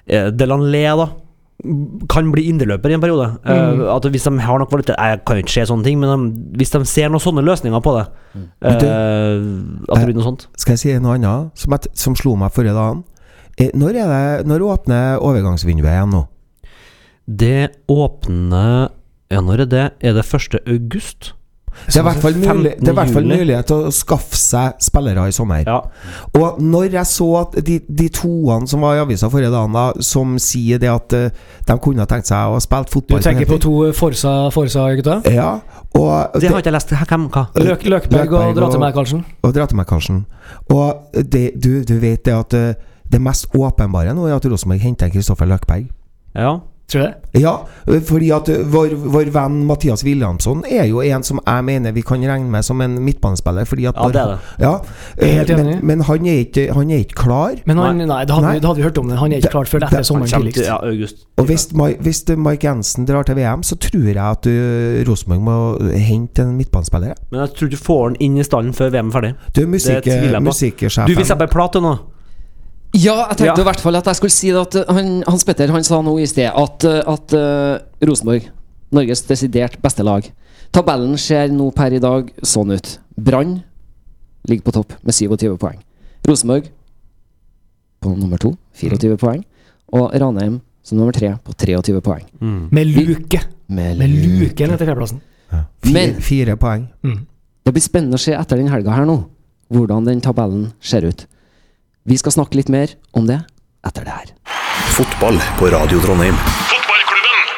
Speaker 5: eh, Delanlé, da, kan bli indreløper i en periode. Eh, At hvis de har noe kvalitet Jeg kan jo ikke se sånne ting, men de, hvis de ser noen sånne løsninger på det eh,
Speaker 4: Men du,
Speaker 5: At det blir noe sånt.
Speaker 4: Skal jeg si noe annet som, jeg t- som slo meg forrige dagen? Eh, Når, er det, når åpner overgangsvinduet igjen nå?
Speaker 5: Det åpner Ja, når er det? Er det 1. august?
Speaker 4: Det er i hvert
Speaker 3: Sånn
Speaker 4: fall mulig- det er i hvert fall
Speaker 5: 15. juli.
Speaker 4: mulighet til å skaffe seg spillere i sommer.
Speaker 5: Ja.
Speaker 4: Og når jeg så at de, de toene som var i avisa forrige dagen, da, som sier det at eh, de kunne ha tenkt seg å ha spilt
Speaker 3: Du
Speaker 4: fotball
Speaker 3: tenker på to Forsa, Forsa-gutta?
Speaker 4: Ja, og
Speaker 5: Det har ikke jeg lest. Hæ, Hvem? Hva?
Speaker 3: Løk, Løkberg
Speaker 4: Løkberg og-
Speaker 3: og dra til meg, Karlsen.
Speaker 4: Og dra til meg, Karsten. Og det, du, du vet det at eh, det mest åpenbare nå er at Rosenborg henter Kristoffer Løkberg.
Speaker 5: Ja.
Speaker 3: Tror du det?
Speaker 4: Ja, eh, fordi at eh, vår, vår venn Mathias Williamson er jo en som jeg mener vi kan regne med som en midtbanespiller. Fordi at
Speaker 5: Ja, det er det.
Speaker 4: Ja, eh,
Speaker 3: Helt enig.
Speaker 4: men, men han er ikke, han er ikke klar.
Speaker 3: Men han, nei, det, hadde,
Speaker 4: Nei.
Speaker 3: vi- det hadde vi hørt om det. Han er ikke
Speaker 4: Det-
Speaker 3: klar før
Speaker 4: det-
Speaker 3: etter sommeren
Speaker 5: Kjem til-
Speaker 3: tidligst.
Speaker 5: Ja, august.
Speaker 4: Og hvis, Mai- hvis eh, Mike Jensen drar til VM, så tror jeg at eh, Rosenborg må hente en midtbanespiller.
Speaker 5: Men jeg tror ikke du får den inn i stallen før VM er ferdig.
Speaker 4: Du er musikk,
Speaker 5: tviler jeg på.
Speaker 4: musikkersjefen.
Speaker 5: Du vil slippe ei plate nå?
Speaker 2: Ja, jeg tenkte
Speaker 5: Ja.
Speaker 2: i hvert fall at jeg skulle si det at uh, han, Hans Petter han sa nå i sted at, uh, at uh, Rosenborg, Norges desidert beste lag Tabellen ser nå per i dag sånn ut. Brann ligger på topp med 27 poeng. Rosenborg på nummer to,
Speaker 3: Mm.
Speaker 2: 24 poeng. Og Ranheim som nummer tre på 23 poeng.
Speaker 3: Med luke. Med luken etter fjerdeplassen.
Speaker 4: fire,
Speaker 2: Men-
Speaker 4: fire poeng.
Speaker 5: Mm.
Speaker 2: Det blir spennende å se etter den helga her nå, hvordan den tabellen ser ut. Vi skal snakke litt mer om det etter det her.
Speaker 1: Fotball på Radio Trondheim.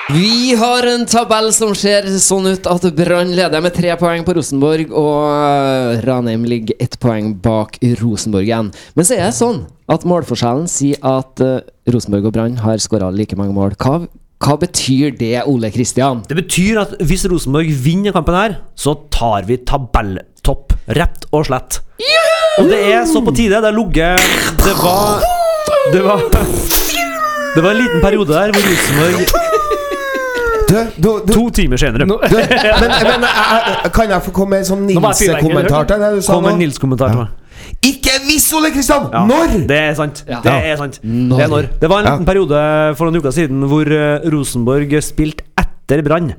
Speaker 2: Vi har en tabell som ser sånn ut at Brann leder med tre poeng på Rosenborg, og eh, Ranheim ligger ett poeng bak Rosenborg igjen. Men så er det sånn at målforskjellen sier at eh, Rosenborg og Brann har skåra like mange mål. Hva Hva betyr det, Ole Kristian?
Speaker 5: Det betyr at hvis Rosenborg vinner kampen her, så tar vi tabelltopp. Rett og slett. Og det er så på tide. Det har ligget Det var Det var Det var en liten periode der hvor Rosenborg
Speaker 4: Du, du, du,
Speaker 5: To timer
Speaker 4: du
Speaker 5: senere
Speaker 4: Men, men jeg- jeg- kan jeg få komme med en sånn
Speaker 3: var jeg fyrverkeri,
Speaker 4: Nils-kommentar til det du sa
Speaker 5: kom en
Speaker 4: nå?
Speaker 5: Nils-kommentar til meg.
Speaker 4: Ikke hvis, Ole Kristian!
Speaker 5: Ja,
Speaker 4: Når?!
Speaker 5: Det er sant.
Speaker 2: Ja.
Speaker 5: Det er sant.
Speaker 2: Når?
Speaker 5: Det er når. Det var en
Speaker 4: Ja.
Speaker 5: liten periode for noen uker siden hvor eh, Rosenborg spilte etter Brann.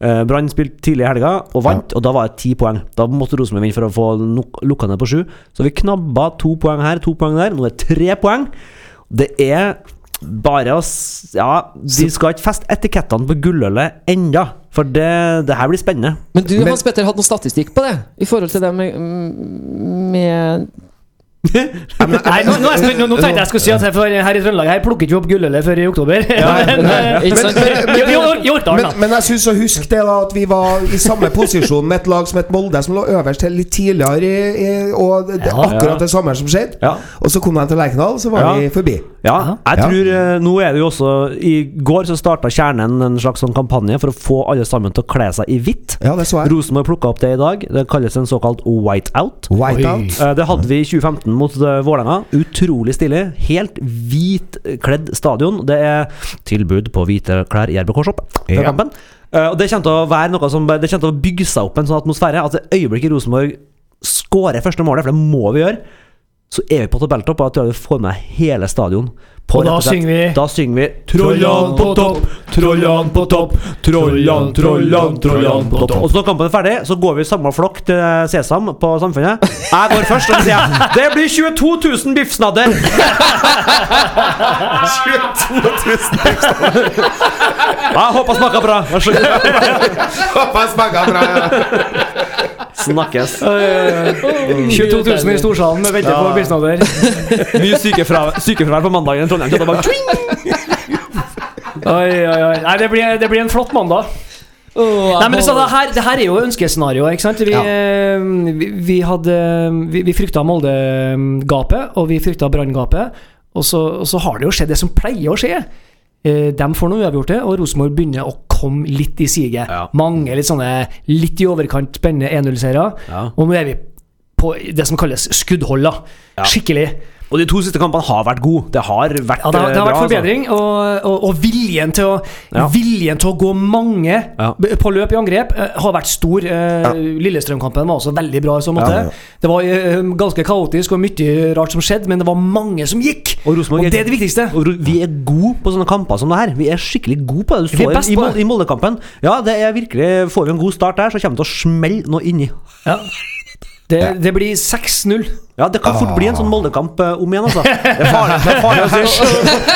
Speaker 5: Eh, Brann spilte tidlig i helga og vant, og da var det ti poeng. Da måtte Rosenborg vinne for å få nok- lukka ned på sju. Så vi knabba to poeng her, to poeng der. Nå er det tre poeng. Det er bare å s- Ja, de skal ikke feste etikettene på gullølet enda for det, det her blir spennende.
Speaker 2: Men du,
Speaker 4: Men-
Speaker 2: Hans Petter, hadde noe statistikk på det? I forhold til det med, med
Speaker 3: Nei, nå, nå, er jeg spent. nå, nå tenkte jeg skulle si at her, for her i Trøndelag her plukker ikke vi opp gullølet før i oktober. Men, eh,
Speaker 2: Ikke sant?
Speaker 3: jo, jo, jo, Orkdal,
Speaker 4: Men,
Speaker 3: da.
Speaker 4: men jeg syns å huske det da at vi var i samme posisjon med et lag som het Molde, som lå øverst til litt tidligere, i, i, og det, det,
Speaker 3: Ja.
Speaker 5: Ja.
Speaker 4: akkurat det samme som skjedde.
Speaker 5: Ja.
Speaker 4: Og så kom de til Lerkendal, så var
Speaker 5: Ja.
Speaker 4: vi forbi.
Speaker 5: Ja, jeg
Speaker 4: Ja.
Speaker 5: tror eh, Nå er det jo også I går så starta Kjernen en slags sånn kampanje for å få alle sammen til å kle seg i hvitt.
Speaker 4: Ja, det så jeg.
Speaker 5: Rosenborg plukka opp det i dag. Det kalles en såkalt whiteout.
Speaker 4: Whiteout.
Speaker 5: Eh, Det hadde vi i 2015 mot eh, Vålerenga. Utrolig stilig. Helt hvitkledd stadion. Det er tilbud på hvite klær i RBK-shop før
Speaker 4: Ja.
Speaker 5: kampen. Eh, Og det kommer til å være noe som Det kommer til å bygge seg opp en sånn atmosfære at det øyeblikket Rosenborg skårer første målet, for det må vi gjøre, så er vi på tabelltopp. Og jeg tror jeg får med hele stadion. på
Speaker 3: Og da
Speaker 5: rett og slett-
Speaker 3: synger vi-
Speaker 5: Da synger vi
Speaker 3: Trollan på topp,
Speaker 5: trollan på topp, trollan, trollan, trollan på topp. Og så når kampen er ferdig, så går vi i samla flokk til Sesam på Samfunnet. Jeg går først, og så sier jeg Det blir 22 000 biffsnadder!
Speaker 4: 22 000
Speaker 5: Jeg håper jeg smaker bra. Vær så god.
Speaker 4: Pass bagga fra ja.
Speaker 5: Snakkes.
Speaker 3: 22 000 i storsalen med venter på bilsnader.
Speaker 5: Mye sykefravær, sykefravær på mandagen i Trondheim. så det er bare tjing!
Speaker 3: Oi, oi, oi. Nei, det blir, det blir en flott mandag. Nei, men så det, her, det her er jo ønskescenarioet. ikke sant? Vi,
Speaker 2: sånn Ja.
Speaker 3: eh, vi, vi, hadde, vi, vi frykta Molde-gapet, og vi frykta Brann-gapet. Og, så- og så har det jo skjedd det som pleier å skje. Eh, De får noe uavgjort, det, og Rosenborg begynner å komme litt i siget.
Speaker 5: Ja.
Speaker 3: Mange litt sånne litt i overkant spennende 1-0-seere.
Speaker 5: Ja.
Speaker 3: Og nå er vi på det som kalles skuddhold. da.
Speaker 5: Ja.
Speaker 3: Skikkelig.
Speaker 5: Og de to siste kampene har vært gode. Det har vært
Speaker 3: Ja, det, har- det har
Speaker 5: eh,
Speaker 3: vært
Speaker 5: bra, altså.
Speaker 3: forbedring, og, og, og viljen, til å,
Speaker 5: Ja.
Speaker 3: viljen til å gå mange
Speaker 5: Ja.
Speaker 3: b- på løp i angrep eh, har vært stor. Eh, Lillestrøm-kampen var også veldig bra i så måte.
Speaker 4: Ja, ja.
Speaker 3: Det var eh, ganske kaotisk og mye rart som skjedde, men det var mange som gikk!
Speaker 5: Og Rosenborg
Speaker 3: det er det viktigste.
Speaker 5: Og Ro- vi er gode på sånne kamper som det her. Vi er skikkelig gode på det. Du
Speaker 3: Vi er
Speaker 5: så
Speaker 3: best
Speaker 5: det i,
Speaker 3: på
Speaker 5: Mol-
Speaker 3: det.
Speaker 5: i Moldekampen. Ja, det er virkelig Får vi en god start der, så kommer det til å smelle noe inni.
Speaker 3: Ja. Det, det blir 6-0.
Speaker 5: Ja, det kan fort bli en sånn Moldekamp eh, om igjen, altså. Det er farlig, det er farlig å si.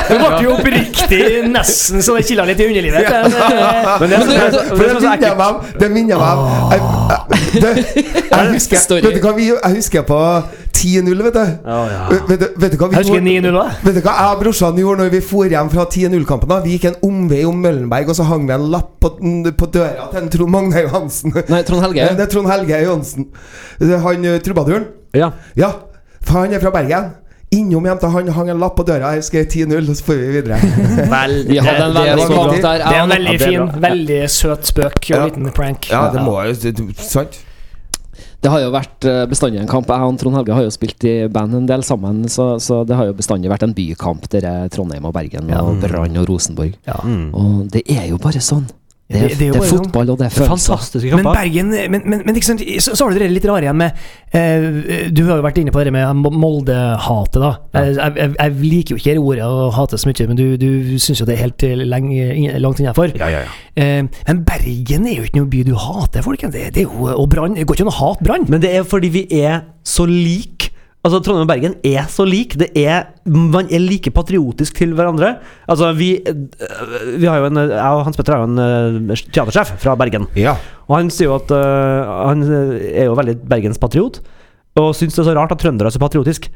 Speaker 3: Det ble jo oppriktig nesten så det kilda litt i underlivet. Men,
Speaker 5: Men det,
Speaker 2: Men det-
Speaker 5: det, det,
Speaker 2: det-
Speaker 5: det,
Speaker 4: For
Speaker 5: som
Speaker 4: det minner jeg
Speaker 5: er så ekkelt-
Speaker 4: meg om. Det minner jeg meg om.
Speaker 5: Ah.
Speaker 4: Jeg- jeg- det- Jeg husker
Speaker 2: Story.
Speaker 4: Vet du hva vi Jeg husker på 10-0, vet du.
Speaker 5: Å, ja.
Speaker 4: Vet- Vet, du- vet du hva vi
Speaker 3: jeg husker
Speaker 4: gjorde-
Speaker 3: 9-0 òg.
Speaker 4: Vet du hva jeg og brorsan gjorde når vi for hjem fra 10-0-kampen? da? Vi gikk en omvei om Møllenberg, og så hang vi en lapp på, på døra til en Trond Magne Johansen.
Speaker 2: Nei, Trond Helge.
Speaker 4: Det er Trond Helge Johansen. Det er Han eh, trubaduren.
Speaker 5: ja.
Speaker 4: Ja, for han er fra Bergen. Innom hjem til han hang en lapp på døra. Her skrev 10-0, og så får vi videre.
Speaker 5: Vel,
Speaker 3: eh,
Speaker 2: Vi hadde en
Speaker 5: det- det
Speaker 2: veldig
Speaker 5: var
Speaker 2: god kamp
Speaker 5: godt.
Speaker 3: Det
Speaker 2: der.
Speaker 3: er en
Speaker 2: Ja,
Speaker 3: veldig
Speaker 5: det er
Speaker 3: fin,
Speaker 5: bra.
Speaker 3: veldig søt spøk og
Speaker 4: Ja.
Speaker 3: liten prank.
Speaker 4: Ja, det må jo det- det- Sant?
Speaker 2: Det har jo vært eh, bestandig en kamp. Jeg og Trond Helge har jo spilt i band en del sammen, så, så det har jo bestandig vært en bykamp, dere Trondheim og Bergen og Brann og Rosenborg.
Speaker 3: Ja.
Speaker 2: Og det er jo bare sånn. Det er,
Speaker 3: Det-
Speaker 2: det,
Speaker 3: det er jo
Speaker 2: er,
Speaker 3: bare sånn.
Speaker 2: fotball, og det er følelser.
Speaker 5: Fantastiske
Speaker 3: Men
Speaker 5: kamper.
Speaker 3: Bergen Men, men, men ikke sant, så, så har du det litt rare igjen med eh, Du har jo vært inne på det med Mo- Molde-hatet, da. Eh, Jeg, jeg, jeg liker jo ikke det ordet å hate så mye, men du, du syns jo det er helt eh, lenge, inn- langt innafor.
Speaker 5: Ja, ja, ja.
Speaker 3: Eh, men Bergen er jo ikke noen by du hater, folkens. Det, det er jo, og Brann Det går ikke an å hate Brann.
Speaker 5: Men det er fordi vi er så like. Altså, Trondheim og Bergen er så like. Det er, man er like patriotisk til hverandre. Altså, vi, øh, vi har jo en, øh, Jeg og Hans Petter er jo en øh, teatersjef fra Bergen.
Speaker 4: Ja.
Speaker 5: Og han sier jo at øh, han er jo veldig bergenspatriot, og syns det er så rart at trøndere er så patriotiske.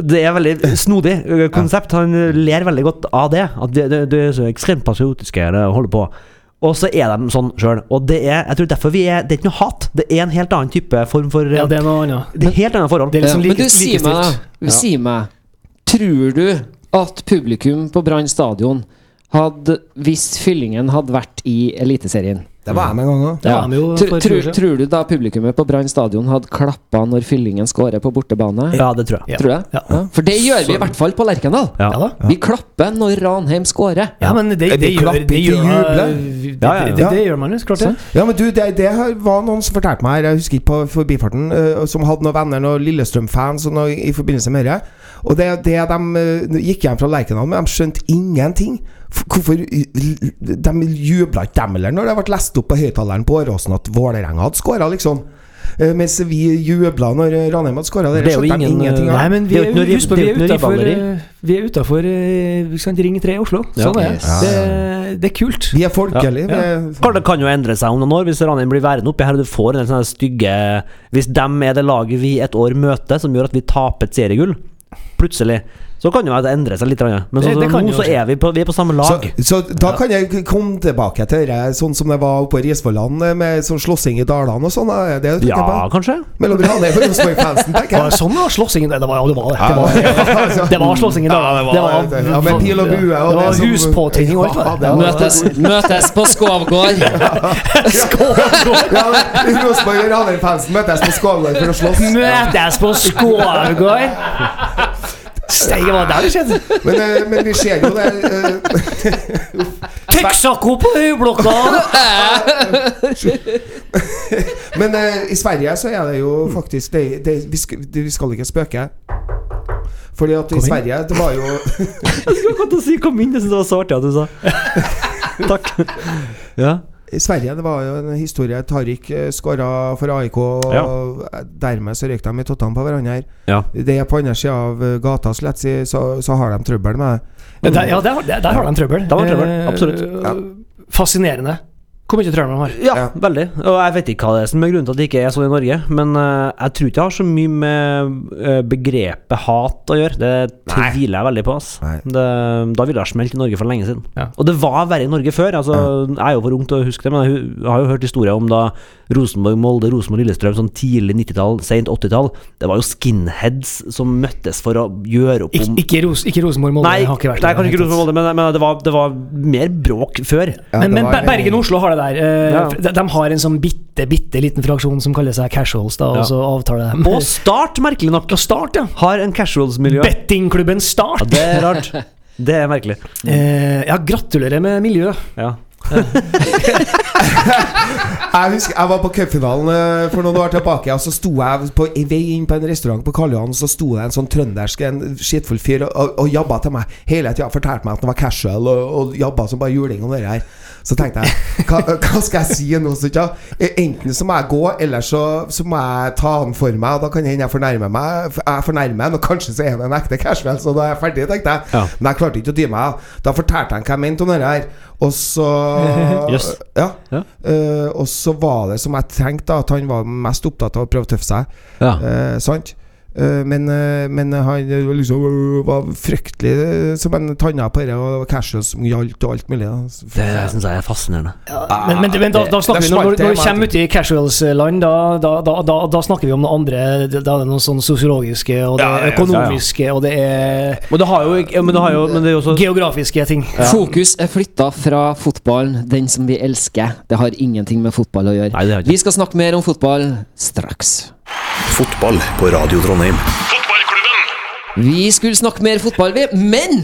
Speaker 5: Det er veldig snodig øh, konsept. Han ler veldig godt av det. At det, det, det er så ekstremt patriotiske det holder på. Og så er de sånn sjøl. Og det er jeg tror derfor vi er, det er ikke noe hat. Det er en helt annen type form for øh,
Speaker 3: Ja, det er noe annet.
Speaker 5: det er helt annet forhold.
Speaker 3: Det er
Speaker 2: Ja.
Speaker 3: liksom
Speaker 2: Men
Speaker 3: like,
Speaker 2: du, si meg,
Speaker 3: likestilt.
Speaker 2: da. Si meg, tror du at publikum på Brann stadion hadde Hvis fyllingen hadde vært i Eliteserien
Speaker 4: Det var jeg med en gang òg.
Speaker 3: Det var de jo
Speaker 2: Tr
Speaker 3: for et
Speaker 2: tror-
Speaker 3: år siden.
Speaker 2: Tror du da publikummet på Brann stadion hadde klappa når fyllingen skårer på bortebane?
Speaker 5: Ja, det tror jeg.
Speaker 2: Tror du det?
Speaker 3: Ja.
Speaker 2: Ja, For det gjør vi i hvert fall på Lerkendal.
Speaker 5: Ja.
Speaker 3: Ja da.
Speaker 2: Vi klapper når Ranheim skårer.
Speaker 3: Ja, men det, det,
Speaker 4: Vi
Speaker 3: gjør,
Speaker 4: klapper
Speaker 3: det,
Speaker 4: ikke,
Speaker 3: gjør,
Speaker 4: jubler.
Speaker 3: det,
Speaker 5: Ja, ja, ja.
Speaker 3: det, det, det gjør man jo, så klart det.
Speaker 4: Ja, men du, det, det her var noen som fortalte meg her, jeg husker ikke på forbifarten, eh, som hadde noen venner, noen Lillestrøm-fans og noe i forbindelse med det. Og det, det de eh, gikk hjem fra Lerkendal med, de skjønte ingenting. F- Hvorfor De jubla ikke, dem heller, når det ble lest opp på høyttaleren på Åråsen at Vålerenga hadde skåra, liksom. Eh, Mens vi jubla når eh, Ranheim hadde skåra.
Speaker 5: Det er jo ingen, eh,
Speaker 4: ingenting av.
Speaker 3: Nei, men vi
Speaker 5: Det er
Speaker 3: er,
Speaker 5: jo ikke noe riv-
Speaker 3: husk på,
Speaker 5: det
Speaker 3: vi
Speaker 5: er
Speaker 3: er
Speaker 5: jo ikke noe
Speaker 3: utafor
Speaker 5: rivaleri.
Speaker 3: Vi er eh, utafor Ring 3 i Oslo.
Speaker 5: Ja.
Speaker 3: Sånn er det.
Speaker 4: Yes.
Speaker 3: det. Det er kult.
Speaker 4: Vi er folkelige.
Speaker 5: Ja,
Speaker 4: vi er-
Speaker 5: Kanskje det kan jo endre seg om noen år, hvis Ranheim blir værende oppi her og du får en del sånne stygge Hvis dem er det laget vi et år møter, som gjør at vi taper et seriegull, plutselig, så kan jo at det endrer seg litt. Ranheim. Men
Speaker 3: Det-
Speaker 5: sånn
Speaker 3: det
Speaker 5: som
Speaker 3: kan
Speaker 5: nå
Speaker 3: jo
Speaker 5: så
Speaker 3: skje.
Speaker 5: er vi på, vi er på samme lag.
Speaker 4: Så, så da kan jeg k- komme tilbake til det sånn som det var oppe på Risvollan, eh, med sånn slåssing i dalene og sånn. eh, Det tenker jeg
Speaker 5: ja,
Speaker 4: på.
Speaker 5: kanskje?
Speaker 4: Mellom Ranheim og Rosenborg-fansen,
Speaker 3: Det
Speaker 4: tenker
Speaker 3: var
Speaker 4: jeg.
Speaker 3: sånn det var slåssingen. Nei, Det var, ja, det var det. Det var, det
Speaker 4: Ja,
Speaker 3: var slåssingen, da.
Speaker 4: det var-
Speaker 3: det
Speaker 4: ja,
Speaker 3: var,
Speaker 4: med pil og bue. og
Speaker 3: det var
Speaker 4: som-
Speaker 3: huspåtenning og alt, var det?
Speaker 4: Ja, det var-
Speaker 2: Møtes, møtes på Skovgård.
Speaker 4: Ja, men Rosenborg og Ranheim-fansen møtes på Skålvær for å slåss.
Speaker 3: Møtes på Skårgård! Steike, hva var det der det skjedde?
Speaker 4: Men, eh, men vi ser jo det eh,
Speaker 3: Texaco på høyblokka!
Speaker 4: Men eh, i Sverige så er det jo faktisk det, det, vi, skal, det, vi skal ikke spøke. Fordi at i Sverige det var jo
Speaker 5: Jeg skulle akkurat til å si 'kom inn', jeg syns det var så artig at du sa Takk. Ja.
Speaker 4: I Sverige det var jo en historie. Tariq eh, skåra for AIK, og dermed så røyk de i tottene på hverandre.
Speaker 5: Ja.
Speaker 4: Det er på andre sida av eh, gata, slett, si, så, så har de trøbbel med det.
Speaker 3: Ja, der, ja, der, der, der har de trøbbel.
Speaker 5: Der var det trøbbel,
Speaker 3: Eh,
Speaker 5: absolutt.
Speaker 4: Ja.
Speaker 3: Fascinerende. Hvor mye trøbbel de har.
Speaker 5: Ja,
Speaker 4: Ja.
Speaker 5: veldig. Og jeg vet ikke hva det er som er grunnen til at det ikke er sånn i Norge, men eh, jeg tror ikke det har så mye med eh, begrepet hat å gjøre. Det tviler jeg veldig på. Ass.
Speaker 4: Nei.
Speaker 5: Det, da ville det ha smelt i Norge for lenge siden.
Speaker 3: Ja.
Speaker 5: Og det var verre i Norge før. Altså, Jeg er jo for ung til å huske det, men jeg hu- har jo hørt historier om da Rosenborg, Molde, Rosenborg, Lillestrøm sånn tidlig 90-tall, sent 80-tall. Det var jo skinheads som møttes for å gjøre opp
Speaker 3: Ik
Speaker 5: om
Speaker 3: ikke, Ros ikke Rosenborg Molde.
Speaker 5: Nei,
Speaker 3: har ikke vært
Speaker 5: nei,
Speaker 3: der,
Speaker 5: kanskje ikke
Speaker 3: helt sant.
Speaker 5: Rosenborg, Molde, men, men det, var, det var mer bråk før.
Speaker 4: Ja,
Speaker 3: men
Speaker 4: det
Speaker 3: men
Speaker 4: var
Speaker 3: Ber-
Speaker 4: en-
Speaker 3: Bergen og Oslo har det der. Eh,
Speaker 5: Ja.
Speaker 3: de, de har en sånn bitte bitte liten fraksjon som kaller seg casuals. da,
Speaker 5: Ja.
Speaker 3: og så avtaler de.
Speaker 5: Og Start, merkelig nok.
Speaker 3: Og Start, ja.
Speaker 5: Har en casuals-miljø.
Speaker 3: Bettingklubben Start.
Speaker 5: Ja, det er rart. Det er merkelig.
Speaker 3: Eh, ja, gratulerer med miljøet.
Speaker 5: Ja.
Speaker 4: Jeg husker, jeg var på cupfinalen eh, for noen år tilbake, og så sto jeg på i vei inn på en restaurant på Karl Johan, så sto det en sånn trøndersk, en skittfull fyr, og, og, og jabba til meg hele tida. Fortalte meg at han var casual, og, og jabba som bare juling om det her. Så tenkte jeg, hva, hva skal jeg si nå? Så, ikke? Eh, Enten så må jeg gå, eller så, så må jeg ta han for meg, og da kan hende jeg fornærmer meg. f- Jeg fornærmer han, og kanskje så er han en ekte casual, så da er jeg ferdig, tenkte jeg.
Speaker 5: Ja.
Speaker 4: Men jeg klarte ikke å dy meg. Da fortalte han hva jeg mente om det her, og så
Speaker 5: Jøss.
Speaker 4: Ja.
Speaker 5: Ja.
Speaker 4: Eh, og så var det som jeg tenkte, da, at han var mest opptatt av å prøve å tøffe seg.
Speaker 5: Ja.
Speaker 4: Eh, sant? Eh, men, eh, men han eh, liksom øh, var fryktelig eh, som en tanna på det, og det var casual som gjaldt, og alt mulig. Da. Så-
Speaker 5: Det syns jeg er fascinerende.
Speaker 3: men, men, men da, da snakker vi når,
Speaker 4: det smalt,
Speaker 3: når
Speaker 4: det
Speaker 3: vi
Speaker 4: var
Speaker 3: kommer
Speaker 4: det.
Speaker 3: ut i casuals-land, da, da, da, da, da snakker vi om noe andre. Da er det noe sånn sosiologiske, og det
Speaker 5: Ja, ja,
Speaker 3: er
Speaker 5: ja,
Speaker 3: økonomiske, og det er
Speaker 5: Men det har jo ikke ja, Men det, har jo, men det er jo også
Speaker 3: geografiske ting.
Speaker 2: Fokus er flytta fra fotballen, den som vi elsker. Det har ingenting med fotball å gjøre.
Speaker 5: Nei, det har ikke.
Speaker 2: Vi skal snakke mer om fotball straks.
Speaker 1: Fotball på Radio Trondheim.
Speaker 2: Vi skulle snakke mer fotball, vi, men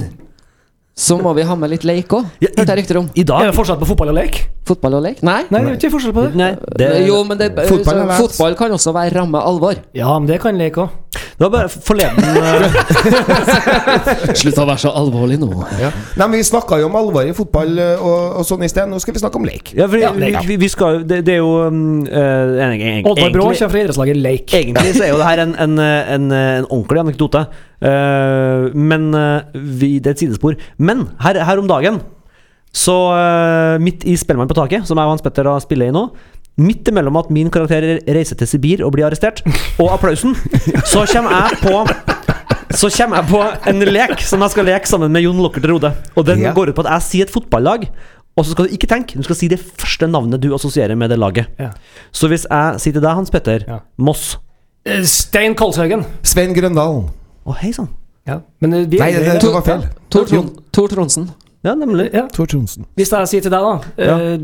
Speaker 2: så må vi ha med litt leik òg.
Speaker 5: Ja, i-
Speaker 2: Hørte jeg rykter om.
Speaker 5: I
Speaker 3: Er
Speaker 5: dag
Speaker 3: det forskjell på fotball og lek?
Speaker 2: Fotball og leik? Nei?
Speaker 3: Nei, det er ikke forskjell på det.
Speaker 5: Nei, det,
Speaker 2: jo, men det,
Speaker 4: Fotball
Speaker 2: fotball,
Speaker 4: er lek.
Speaker 2: fotball kan også være ramme alvor.
Speaker 3: Ja, men det kan lek òg.
Speaker 5: det var bare forleden eh,
Speaker 2: Slutt å være så alvorlig nå.
Speaker 4: Ja. Nei, men Vi snakka jo om alvor i fotball eh, og, og sånn i sted. Nå skal vi snakke om lek.
Speaker 5: Ja, fordi
Speaker 3: Ja, det er-
Speaker 5: vi, vi skal jo det, det er jo um, eh, en- en- en-
Speaker 3: Oddvar Brå
Speaker 5: egentlig-
Speaker 3: kommer fra idrettslaget Lake.
Speaker 5: Egentlig så er jo det her en, en, en, en ordentlig anekdote. Eh, men eh, vi, det er et sidespor. Men her, her om dagen, så eh, midt i Spellemann på taket, som jeg og Hans Petter da spiller i nå Midt imellom at min karakter reiser til Sibir og blir arrestert, og applausen, så kommer jeg på så kommer jeg på en lek som jeg skal leke sammen med Jon Lockert Rode. Og den
Speaker 4: Ja.
Speaker 5: går ut på at jeg sier et fotballag, og så skal du ikke tenke. Du skal si det første navnet du assosierer med det laget.
Speaker 3: Ja.
Speaker 5: Så hvis jeg sier til deg, Hans Petter,
Speaker 3: Ja.
Speaker 5: Moss
Speaker 3: Eh, Stein Kalshaugen.
Speaker 4: Svein Grøndalen.
Speaker 5: Å, hei sann.
Speaker 3: Ja. Men eh, vi
Speaker 4: Nei, det, det, det var feil.
Speaker 2: Tor, Tron Tor Tronsen.
Speaker 5: Ja, nemlig.
Speaker 3: Ja.
Speaker 4: Tor Tronsen.
Speaker 3: Hvis jeg sier til deg, da
Speaker 5: Ja.
Speaker 3: eh,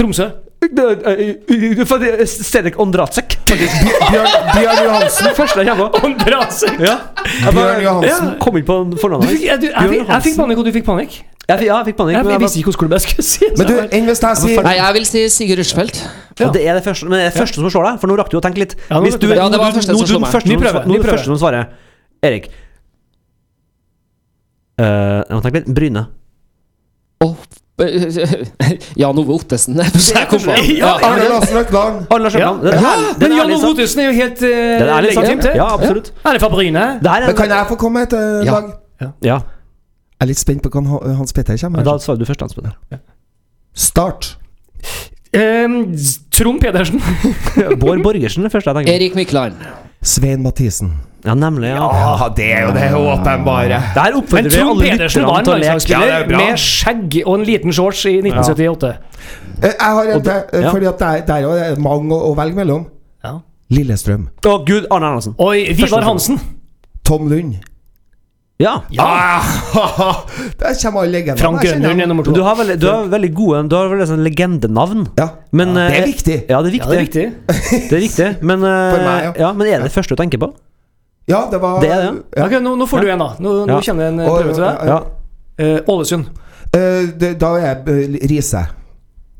Speaker 3: Tromsø.
Speaker 5: eh, Stedek Ondratsek.
Speaker 4: Bjørn, Bjørn Johansen.
Speaker 5: Første jeg kommer på.
Speaker 3: Ondrasek!
Speaker 5: Ja. Jeg
Speaker 4: Bjørn Johansen.
Speaker 5: ja, kom ikke på
Speaker 3: Du
Speaker 5: fornavnet.
Speaker 3: fikk, jeg, du, jeg,
Speaker 5: Bjørn
Speaker 3: fikk, jeg fikk
Speaker 5: Hansen.
Speaker 3: panikk, og du fikk panikk. Jeg,
Speaker 5: Jeg fikk- Ja, jeg fikk panikk.
Speaker 3: jeg,
Speaker 5: men jeg
Speaker 3: visste ikke hvilken klubb jeg skulle si. så
Speaker 4: Men du,
Speaker 3: jeg bare-
Speaker 4: enn hvis jeg sier
Speaker 2: Nei, jeg vil si Sigurd Rushfeldt.
Speaker 5: bare- Og det er det første, men det er det første som slår deg, for nå rakk du å tenke litt.
Speaker 3: Ja, nå
Speaker 5: Hvis
Speaker 3: vet
Speaker 5: du,
Speaker 2: jeg. Ja, det
Speaker 5: nå,
Speaker 2: var
Speaker 5: du,
Speaker 2: det første
Speaker 5: nå,
Speaker 2: som
Speaker 5: du,
Speaker 2: slo
Speaker 5: den
Speaker 2: meg.
Speaker 5: første
Speaker 3: Ny
Speaker 5: som
Speaker 3: prøve,
Speaker 5: svar- nå
Speaker 3: ny
Speaker 5: er det
Speaker 3: prøve.
Speaker 5: første som svarer. Erik. Eh, jeg må tenke litt. Bryne.
Speaker 2: Og Jan Ove Ottesen. Det er første jeg kom på. Ja,
Speaker 4: Arne Larsen Røkland.
Speaker 5: Arne Lars Løkland. Det er ærlig- det er
Speaker 3: Men Jan
Speaker 5: ærlig
Speaker 3: Ove
Speaker 5: sak.
Speaker 3: Ottesen er jo helt
Speaker 5: Det er
Speaker 3: uh,
Speaker 5: ærlig
Speaker 3: legitimt,
Speaker 5: sak.
Speaker 3: det.
Speaker 5: Ja, absolutt.
Speaker 3: Er det fra Bryne?
Speaker 5: Det her er
Speaker 4: Men kan jeg få komme et eh,
Speaker 2: Ja.
Speaker 4: lag?
Speaker 5: Ja,
Speaker 4: Jeg er litt spent på hva han- Hans Petter kommer
Speaker 5: men da
Speaker 4: med.
Speaker 5: svarer du først, Hans Petter.
Speaker 4: Start.
Speaker 3: Ehm, Trond Pedersen.
Speaker 5: Bård Borgersen er første jeg tenker.
Speaker 2: Erik Mykland.
Speaker 4: Svein Mathisen.
Speaker 5: på. Ja, nemlig. Ja.
Speaker 4: det er jo det åpenbare.
Speaker 5: Det her
Speaker 3: Men
Speaker 5: oppfordrer vi
Speaker 3: Trond
Speaker 5: alle
Speaker 3: Pedersen var
Speaker 5: lytterne
Speaker 3: en
Speaker 5: til å leke.
Speaker 3: landslagsspiller
Speaker 4: Ja, det er bra.
Speaker 3: med skjegg og en liten shorts i 1978.
Speaker 4: Jeg har en til, eh,
Speaker 5: ja.
Speaker 4: fordi at der, der er det mange å, å velge mellom.
Speaker 3: Ja.
Speaker 4: Lillestrøm.
Speaker 5: Å gud, Arne Erlandsen.
Speaker 3: Oi, Vidar Hansen.
Speaker 4: Tom Lund.
Speaker 5: Ja.
Speaker 4: Ah, der kommer alle legendene.
Speaker 3: Frank
Speaker 4: Jeg kjenner
Speaker 3: Grønlund er nummer to.
Speaker 5: Du har veldig, du har veldig gode Du har veldig sånn legendenavn.
Speaker 4: Ja.
Speaker 5: Men,
Speaker 4: Ja, det er
Speaker 5: eh,
Speaker 4: viktig.
Speaker 5: Ja, det er
Speaker 3: Ja, det er
Speaker 5: viktig.
Speaker 3: riktig.
Speaker 5: Det er riktig. Men, eh,
Speaker 4: For meg, ja.
Speaker 5: ja, men er det det første du tenker på?
Speaker 4: Ja, det var
Speaker 5: Det er det,
Speaker 4: ja.
Speaker 3: Ok, nå, nå får du en, da. Nå, nå
Speaker 5: Ja.
Speaker 3: kjenner jeg en eh,
Speaker 4: Og-
Speaker 3: prøve til deg.
Speaker 5: Ja.
Speaker 3: Eh, Ålesund.
Speaker 4: Eh, det, da er jeg eh, Riise.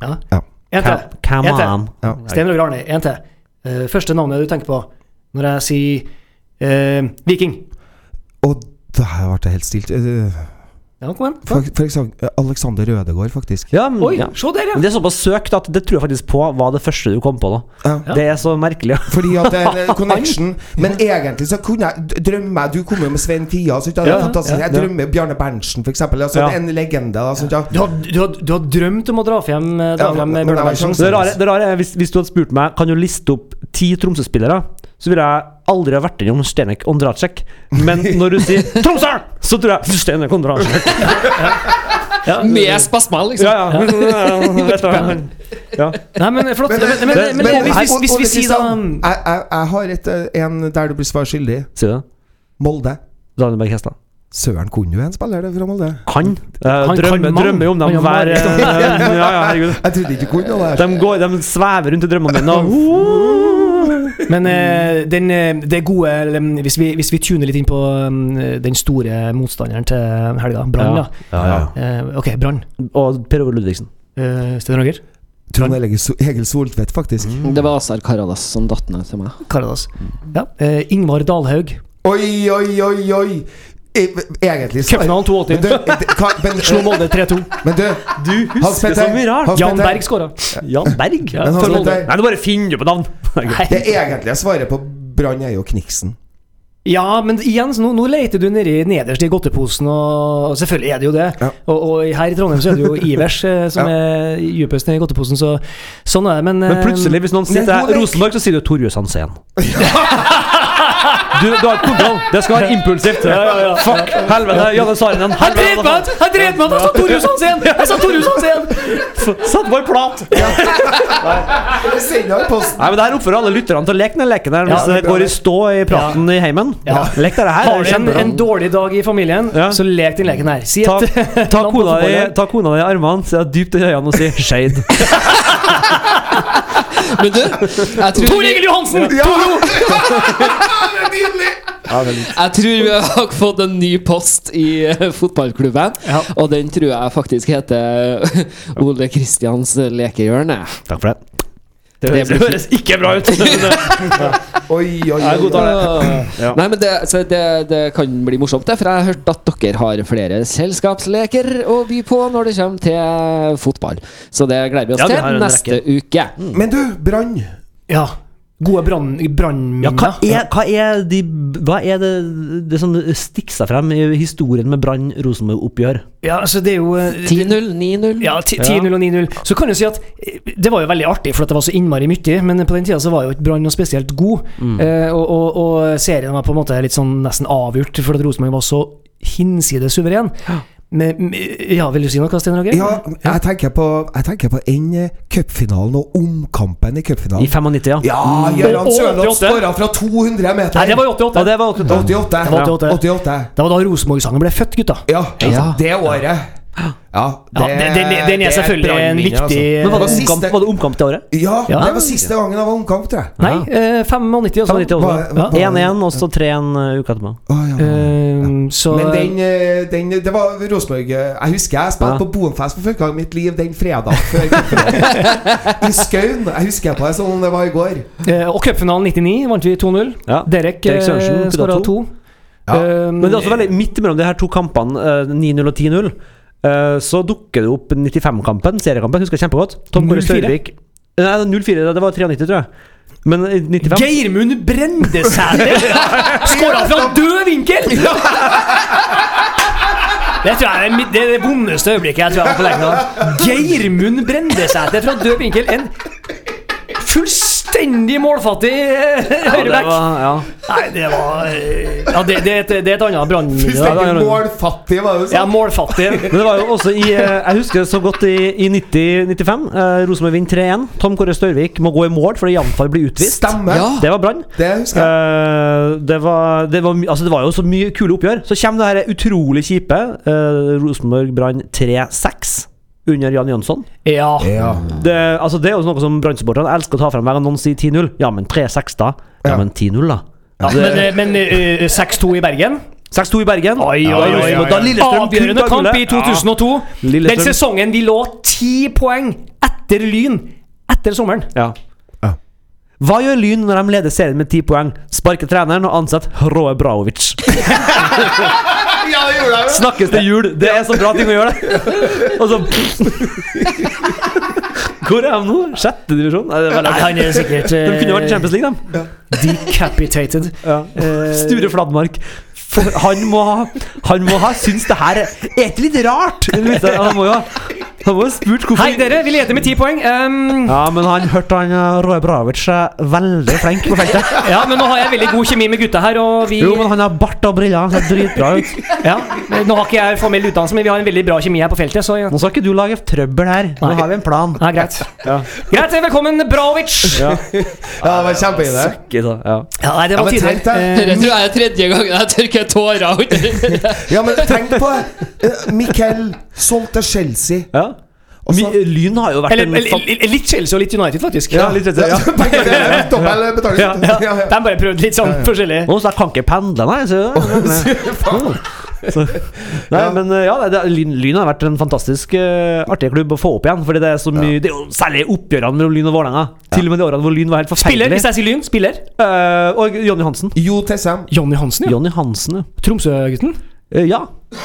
Speaker 3: En til.
Speaker 5: Ca- Come
Speaker 3: En til.
Speaker 5: on.
Speaker 4: Ja.
Speaker 3: Stein Roger Arne. En til. Eh, første navnet du tenker på når jeg sier eh, Viking.
Speaker 4: Og der ble det helt stilt. Eh,
Speaker 3: Ja, kom igjen.
Speaker 4: For, for eksempel eh, Alexander Rødegård, faktisk.
Speaker 5: Ja, men,
Speaker 3: Oi,
Speaker 5: Mm, ja.
Speaker 3: se der,
Speaker 5: Men
Speaker 3: ja.
Speaker 5: det er såpass søkt at det tror jeg faktisk på var det første du kom på. da
Speaker 4: Ja.
Speaker 5: Det er så merkelig.
Speaker 4: Fordi at det er en connection. Men egentlig så kunne jeg d- drømme Du kom jo med Svein Tia. Så det er
Speaker 5: Ja, ja,
Speaker 4: fantastisk.
Speaker 5: ja,
Speaker 4: Jeg
Speaker 5: ja.
Speaker 4: drømmer Bjarne Berntsen, f.eks. Altså,
Speaker 5: Ja.
Speaker 4: det er En legende. Da, sånt, ja.
Speaker 3: Du har, du, har, du har drømt om å dra frem, eh, dra
Speaker 4: Ja,
Speaker 3: frem
Speaker 4: men-
Speaker 3: eh,
Speaker 4: men det
Speaker 3: Bjørnar
Speaker 4: var
Speaker 3: Berntsen.
Speaker 5: Det rare, det rare er hvis, hvis du hadde spurt meg Kan du liste opp ti Tromsø-spillere, så ville jeg aldri ha vært innom Stenek Ondratsjek. Men når du sier Tromsø, så tror jeg Stenek Ondratsjek.
Speaker 2: Med spasmal, liksom.
Speaker 5: Ja, ja. Vet du hva? ja.
Speaker 3: Nei, men eh, flott. Men, men, men,
Speaker 5: det-
Speaker 3: men,
Speaker 5: men-
Speaker 3: hvis, hvis, hvis vi
Speaker 4: Ole
Speaker 3: sier da
Speaker 4: Kristian, jeg, jeg, jeg har et, eh, en der du blir svar skyldig.
Speaker 5: Sier du det?
Speaker 4: Molde.
Speaker 5: Daniel Berg Hestad.
Speaker 4: Søren, kunne jo en spiller det fra Molde?
Speaker 5: Han, eh,
Speaker 3: kan
Speaker 5: drømmer,
Speaker 3: mann.
Speaker 5: drømmer jo om dem
Speaker 3: Han er mann.
Speaker 5: hver eh, Ja, ja, herregud.
Speaker 4: Jeg trodde ikke du kunne det.
Speaker 5: De, går, de svever rundt i drømmene mine og
Speaker 3: Men eh, den, eh, det gode eller, mm, hvis vi, hvis vi tuner litt inn på mm, den store motstanderen til helga, Brann, da.
Speaker 5: ja, ja.
Speaker 3: Eh, ok, Brann.
Speaker 5: Og Per Ove Ludvigsen.
Speaker 3: Uh, Stein Roger?
Speaker 4: Trond Egil So- Egil Soltvedt, faktisk.
Speaker 3: Mm.
Speaker 2: Det var Asar Karadas som datt ned til meg.
Speaker 3: Karadas. Ja. eh, Ingvar Dalhaug.
Speaker 4: Oi, oi, oi, oi! E- Egentlig så-
Speaker 3: Cupfinalen
Speaker 4: Men du,
Speaker 3: 82.
Speaker 4: det- hva- men-
Speaker 3: Slo Molde 3-2.
Speaker 4: Men du,
Speaker 5: Du
Speaker 4: Hans Petter, Hans
Speaker 3: Jan
Speaker 4: Petter,
Speaker 3: Berg skåra.
Speaker 5: Jan Berg?
Speaker 3: Ja,
Speaker 5: Ja.
Speaker 4: Men Hans
Speaker 3: for Molde.
Speaker 4: Petter,
Speaker 5: Nei, nå bare finner du på navn!
Speaker 4: det egentlige svaret på Brann er jo Kniksen.
Speaker 3: Ja, men igjen, så nå, nå leter du nedi, nederst i godteposen, og, og selvfølgelig er det jo det.
Speaker 4: Ja.
Speaker 3: Og, og her i Trondheim så er det jo Ivers eh, som
Speaker 4: Ja.
Speaker 3: er djupest nedi godteposen, så sånn er det. Men,
Speaker 5: Men plutselig, hvis noen sier
Speaker 4: Men
Speaker 5: til
Speaker 4: Rolik-
Speaker 5: Rosenborg, så sier du Torjus Hansen. Du, du har et kontroll. Det skal være impulsivt. Ja, ja, ja. Fuck. Helvete. Janne Sarinen.
Speaker 3: Han dreper meg! ut! Han dreper meg! ut! Jeg sa Torjus Hansen! Jeg sa Torjus Hansen!
Speaker 5: Satt på en plat!
Speaker 4: Send ham i posten!
Speaker 5: Nei, men Det her oppfordrer alle lytterne til å leke den leken der hvis
Speaker 3: Ja,
Speaker 5: det går i stå i praten i heimen.
Speaker 3: Ja.
Speaker 5: Lek dere her.
Speaker 3: Har du
Speaker 5: det er
Speaker 3: en,
Speaker 5: kjempebra.
Speaker 3: en dårlig dag i familien,
Speaker 5: Ja.
Speaker 3: så lek den leken her. Si
Speaker 5: Ta,
Speaker 3: et
Speaker 5: ta, kona di, ta kona di i armene, se henne dypt i øynene og si 'shade'.
Speaker 2: Men du, jeg tror,
Speaker 3: Tor Egil Johansen!
Speaker 4: Ja! det er nydelig!
Speaker 2: jeg tror vi har fått en ny post i eh, fotballklubben.
Speaker 3: Ja.
Speaker 2: Og den tror jeg faktisk heter Ole Kristians lekehjørne.
Speaker 5: Takk for det.
Speaker 2: Det blir fint.
Speaker 5: ikke bra ut.
Speaker 4: Oi, oi, oi.
Speaker 5: Ja, god dag.
Speaker 4: oi.
Speaker 5: Ja.
Speaker 2: Nei, men det, så det, det kan bli morsomt, det, for jeg har hørt at dere har flere selskapsleker å by på når det kommer til fotball. Så det gleder vi oss
Speaker 5: Ja, vi har
Speaker 2: til
Speaker 5: en
Speaker 2: neste uke.
Speaker 4: Men du, Brann.
Speaker 3: Ja. Gode brann-
Speaker 5: Ja, hva
Speaker 3: brannminner.
Speaker 5: er, hva er, de, hva er det, det som stikker seg frem i historien med Brann-Rosenborg-oppgjør?
Speaker 3: Ja, altså, det er jo eh,
Speaker 2: 10-0, 9-0.
Speaker 3: Ja, ti- 10-0 og 9-0. Så kan du si at eh, det var jo veldig artig, for at det var så innmari mye, men på den tida så var jo ikke Brann noe spesielt god.
Speaker 5: Mm.
Speaker 3: Eh, og, og, og serien var på en måte litt sånn nesten avgjort, for at Rosenborg var så hinsides suveren. Med, med, ja, vil du si noe, Sten Roger?
Speaker 4: Ja, jeg tenker på Jeg tenker på den eh, cupfinalen og omkampen i
Speaker 5: I
Speaker 4: cupfinalen.
Speaker 5: 95, ja.
Speaker 4: Ja,
Speaker 5: Mm.
Speaker 4: Gøran
Speaker 3: Og
Speaker 4: Sørloth
Speaker 3: 88.
Speaker 4: skåra fra 200 meter!
Speaker 3: Nei, det var i 88.
Speaker 5: Og det var 88.
Speaker 4: 88.
Speaker 3: Det var 88.
Speaker 4: 88.
Speaker 3: Det var da Rosenborg-sangen ble født, gutta.
Speaker 4: Ja,
Speaker 2: Ja.
Speaker 4: det året. Ja,
Speaker 3: Ja, det- det- den er altså.
Speaker 4: et
Speaker 3: selvfølgelig en
Speaker 4: brannminne,
Speaker 3: viktig-
Speaker 5: Men var det,
Speaker 4: siste-
Speaker 5: Eh, omkamp, var det omkamp det året?
Speaker 4: Ja,
Speaker 3: Ja.
Speaker 4: det var siste gangen jeg var omkamp, tror jeg.
Speaker 3: Nei, eh, 95 også.
Speaker 5: 95 også.
Speaker 4: Hva- hva-
Speaker 5: 1-1, og så 3-1 uka etterpå.
Speaker 4: Å, ja.
Speaker 3: Eh, så
Speaker 4: Men den, eh, den Det var Rosenborg eh, Jeg husker jeg spilte
Speaker 5: Ja.
Speaker 4: på Bonfest for første gang i mitt liv den fredag før cupfinalen. I Skaun. Jeg husker på det som om det var i går.
Speaker 3: eh, Og cupfinalen 99 vant vi 2-0.
Speaker 5: Ja.
Speaker 3: Derek,
Speaker 5: Derek Sørensen,
Speaker 3: eh, skåra
Speaker 5: putta
Speaker 3: to.
Speaker 5: to.
Speaker 4: Ja.
Speaker 3: Eh,
Speaker 5: Men det er også veldig midt mellom de her to kampene, eh, 9-0 og 10-0, eh, så dukker det opp 95-kampen, seriekampen, husker jeg kjempegodt. Tom Kåre
Speaker 3: 04.
Speaker 5: Størvik Nei, 04, det var 93, tror jeg. Men i 95
Speaker 3: Geirmund Brendesæter skåra fra død vinkel! Det tror jeg er mitt- det, er det vondeste øyeblikket jeg tror jeg har på lenge. da. Geirmund Brendesæter fra død vinkel. En fullstendig målfattig eh,
Speaker 5: Ja, det
Speaker 3: høyreback.
Speaker 5: var- ja.
Speaker 3: Nei, det var eh, Ja, det, det, er et- det er et annet brannminne. da.
Speaker 5: det er
Speaker 4: Fullstendig
Speaker 5: det.
Speaker 4: målfattig, var det
Speaker 3: Jeg er
Speaker 4: sånn?
Speaker 3: målfattig.
Speaker 5: Men det var jo også i eh, Jeg husker det så godt i, i 90-95. Eh, Rosenborg vinner 3-1. Tom Kåre Størvik må gå i mål fordi Janfar blir utvist.
Speaker 4: Stemmer.
Speaker 2: Ja.
Speaker 5: Det var Brann.
Speaker 4: Det husker jeg.
Speaker 5: Eh, det, var, det, var, my- altså det var jo så mye kule oppgjør. Så kommer det her utrolig kjipe. eh, Rosenborg-Brann 3-6 under Jan Jønsson.
Speaker 3: Ja.
Speaker 4: Ja.
Speaker 5: Det, altså det er jo noe som Brann-supporterne elsker å ta frem. Hver gang noen sier 10-0, ja, men 3-6, da? Ja,
Speaker 4: Ja.
Speaker 5: men 10-0, da?
Speaker 3: Ja, men eh, men eh, 6-2 i Bergen
Speaker 5: 6-2 i Bergen.
Speaker 3: Ja,
Speaker 5: Da
Speaker 3: oi, oi,
Speaker 5: Rosenborg-
Speaker 3: oi.
Speaker 5: Da Lillestrøm
Speaker 3: Avgjørende
Speaker 5: kunne ta
Speaker 3: kamp i
Speaker 5: gullet.
Speaker 3: 2002.
Speaker 5: Lillestrøm.
Speaker 3: Den sesongen vi lå ti poeng etter Lyn etter sommeren.
Speaker 5: Ja.
Speaker 4: Ja.
Speaker 5: Hva gjør Lyn når de leder serien med ti poeng? Sparker treneren og ansetter Roe Braovic.
Speaker 4: ja, det gjorde jeg jo.
Speaker 5: Snakkes til jul! Det er så bra ting å gjøre, det! Og så Hvor er de nå? Sjette divisjon? Nei, det er veldig...
Speaker 3: han er sikkert eh,
Speaker 5: De kunne jo vært i Champions League, de.
Speaker 3: Decapitated.
Speaker 5: Eh, Sture Fladmark. For han må ha Han må ha syntes det her er er ikke litt rart! Eller hvis det- Han må jo Han må jo ha spurt hvorfor
Speaker 3: Hei, dere! Vi leder med ti poeng. Ehm,
Speaker 5: Ja, men han hørte han eh, Roe Braovic er veldig flink på feltet.
Speaker 3: ja, men nå har jeg veldig god kjemi med gutta her, og vi
Speaker 5: Jo, men han har bart og briller. Han ser dritbra ut.
Speaker 3: ja, Nå har ikke jeg formell utdannelse, men vi har en veldig bra kjemi her på feltet, så ja.
Speaker 5: Nå skal ikke du lage trøbbel her. Nå
Speaker 3: Nei.
Speaker 5: har vi en plan.
Speaker 3: Ja, greit.
Speaker 5: Ja.
Speaker 3: Greit, velkommen, Braovic! Ja,
Speaker 4: Ja, det var kjempeidé.
Speaker 3: nei, det
Speaker 4: Ja,
Speaker 3: var
Speaker 4: men
Speaker 3: tider.
Speaker 4: tenk deg.
Speaker 5: Eh.
Speaker 2: Det tror jeg er tredje gangen jeg tørker tårer under
Speaker 4: Ja, men tenk på eh, Mikkel solgte Chelsea.
Speaker 5: Ja.
Speaker 4: Og så-
Speaker 5: Mi- Lyn har jo vært
Speaker 3: Eller,
Speaker 5: en
Speaker 3: eller,
Speaker 5: fan-
Speaker 3: eller litt Chelsea og litt United, faktisk.
Speaker 5: Ja, litt rett, ja.
Speaker 4: Begge deler. Dobbel betaling.
Speaker 5: Ja,
Speaker 4: Ja, ja.
Speaker 3: De bare prøvde litt sånn forskjellig.
Speaker 5: Nå, så jeg kan ikke pendle, nei. Så,
Speaker 4: Faen.
Speaker 5: så. Nei,
Speaker 4: Ja.
Speaker 5: men eh, ja, det, det- lyn, lyn har vært en fantastisk eh, artig klubb å få opp igjen. Fordi det er så mye Det er jo særlig oppgjørene mellom Lyn og Vålerenga. Til og med de årene hvor Lyn var helt
Speaker 3: Spiller,
Speaker 5: forferdelig.
Speaker 3: hvis jeg sier Lyn. Spiller.
Speaker 5: Eh, og Jonny Hansen.
Speaker 4: Jo Tessem.
Speaker 3: Jonny Hansen, ja.
Speaker 5: Jonny Hansen, ja.
Speaker 3: Tromsø-gutten.
Speaker 5: Eh, ja.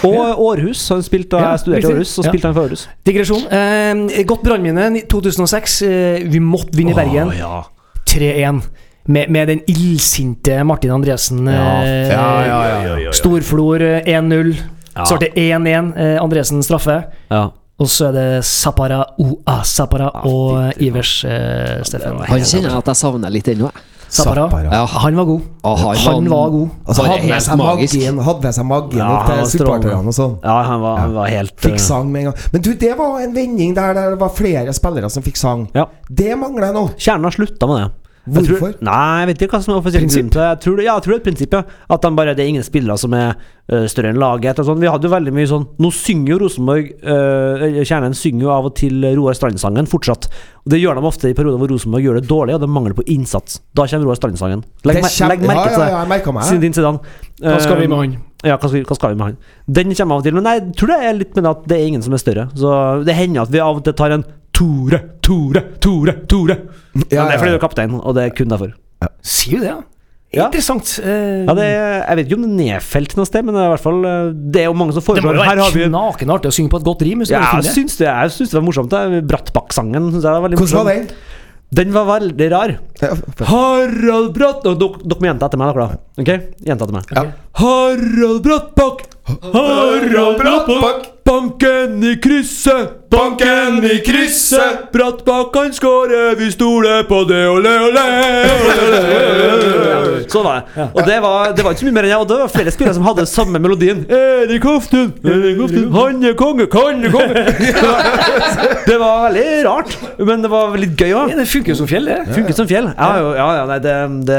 Speaker 5: Og Århus. Han spilte, og
Speaker 3: Ja,
Speaker 5: jeg studerte i
Speaker 3: riktig.
Speaker 5: Århus, så
Speaker 3: Ja.
Speaker 5: spilte han for Århus.
Speaker 3: Digresjon. Eh, godt brannminne ni- 2006. Eh, vi måtte vinne i Bergen.
Speaker 5: Å, ja.
Speaker 3: 3-1. Med, med den illsinte Martin Andresen. Eh, Storflor eh, 1-0. Så ble det 1-1. Eh, Andresen straffe.
Speaker 5: Ja.
Speaker 3: Og så er det Zapara Oa Zapara
Speaker 5: Ah,
Speaker 3: og eh, Ivers eh, Steffen.
Speaker 2: Han kjenner jeg at jeg savner litt ennå jeg.
Speaker 3: Zapara.
Speaker 4: Zappara.
Speaker 2: Ja.
Speaker 3: Han var god.
Speaker 2: Å, han
Speaker 3: Han
Speaker 2: var-
Speaker 3: var god.
Speaker 4: Altså,
Speaker 2: Bare
Speaker 4: hadde med
Speaker 2: helt
Speaker 4: seg
Speaker 2: magisk.
Speaker 4: magien Hadde med seg magien
Speaker 5: Ja,
Speaker 4: opp
Speaker 5: han
Speaker 4: til
Speaker 5: var strålende.
Speaker 4: supporterne og sånn.
Speaker 5: ja, han var, han var helt eh,
Speaker 4: Fikk sang med en gang. Men du, det var en vending der det var flere spillere som fikk sang.
Speaker 5: Ja.
Speaker 4: Det mangler jeg nå.
Speaker 5: Kjernen har slutta med det. Jeg
Speaker 4: Hvorfor?
Speaker 5: Tror, nei, jeg vet ikke hva som er offisielt grunn til det. Jeg tror, det- ja, jeg tror det er et prinsipp, ja. At de bare, det er ingen spillere som er øh, større enn laget. Og sånn. Vi hadde jo veldig mye sånn Nå synger jo Rosenborg øh, eller Kjernen synger jo av og til Roar Strand-sangen fortsatt. Og Det gjør de ofte i perioder hvor Rosenborg gjør det dårlig, og det mangler på innsats. Da kommer Roar Strand-sangen. Legg,
Speaker 4: Det
Speaker 5: mer-
Speaker 4: kjem-
Speaker 5: legg merke til
Speaker 4: ja, ja,
Speaker 5: det.
Speaker 4: ja, jeg merket meg det.
Speaker 5: Siden din sedan.
Speaker 3: Hva skal
Speaker 5: Eh,
Speaker 3: vi med han?
Speaker 5: Ja, hva skal, hva skal vi med han? Den kommer av og til, men nei, jeg tror det er litt med det at det er ingen som er større. Så det hender at vi av og til tar en Tore, Tore, Tore, Tore.
Speaker 4: Ja,
Speaker 5: men det er
Speaker 4: ja.
Speaker 5: fordi du er kaptein, og det er kun derfor.
Speaker 3: Sier jo det, ja.
Speaker 5: Ja.
Speaker 3: Interessant. Eh,
Speaker 5: Ja, det, er- jeg vet ikke om det er nedfelt noe sted, men det er i hvert fall eh, Det er jo mange som
Speaker 3: det må
Speaker 5: foreslår
Speaker 3: jo
Speaker 5: Her har
Speaker 3: være
Speaker 5: vi
Speaker 3: knakenartig å synge på et godt rim. hvis du
Speaker 5: ja,
Speaker 3: bare
Speaker 5: jeg
Speaker 3: finner det.
Speaker 5: syns det, jeg syns det var morsomt. det. Brattbakk-sangen syns jeg var veldig
Speaker 4: Hvordan var den?
Speaker 5: Den var veldig rar.
Speaker 4: Ja, for-
Speaker 5: Harald Bratt Nå, Dere dere må gjenta etter meg, dere, da. Ok? Gjenta etter meg.
Speaker 4: Ja.
Speaker 5: Harald Brattbakk! Harald Brattbakk! Banken i krysset! Banken i krysset! Brattbakk kan skåre, vi stoler på det, ole, ole! ole, ole. Sånn var det. Og det var, det var ikke så mye mer enn jeg. Og det var flere spillere som hadde samme melodien. Erik Hoftun, Erik Hoftun, han er konge, han er konge! Det var veldig rart, men det var litt gøy òg.
Speaker 3: Ja, det funker jo som fjell, det.
Speaker 5: Funket som fjell. Ja, jo, ja, ja nei, det, det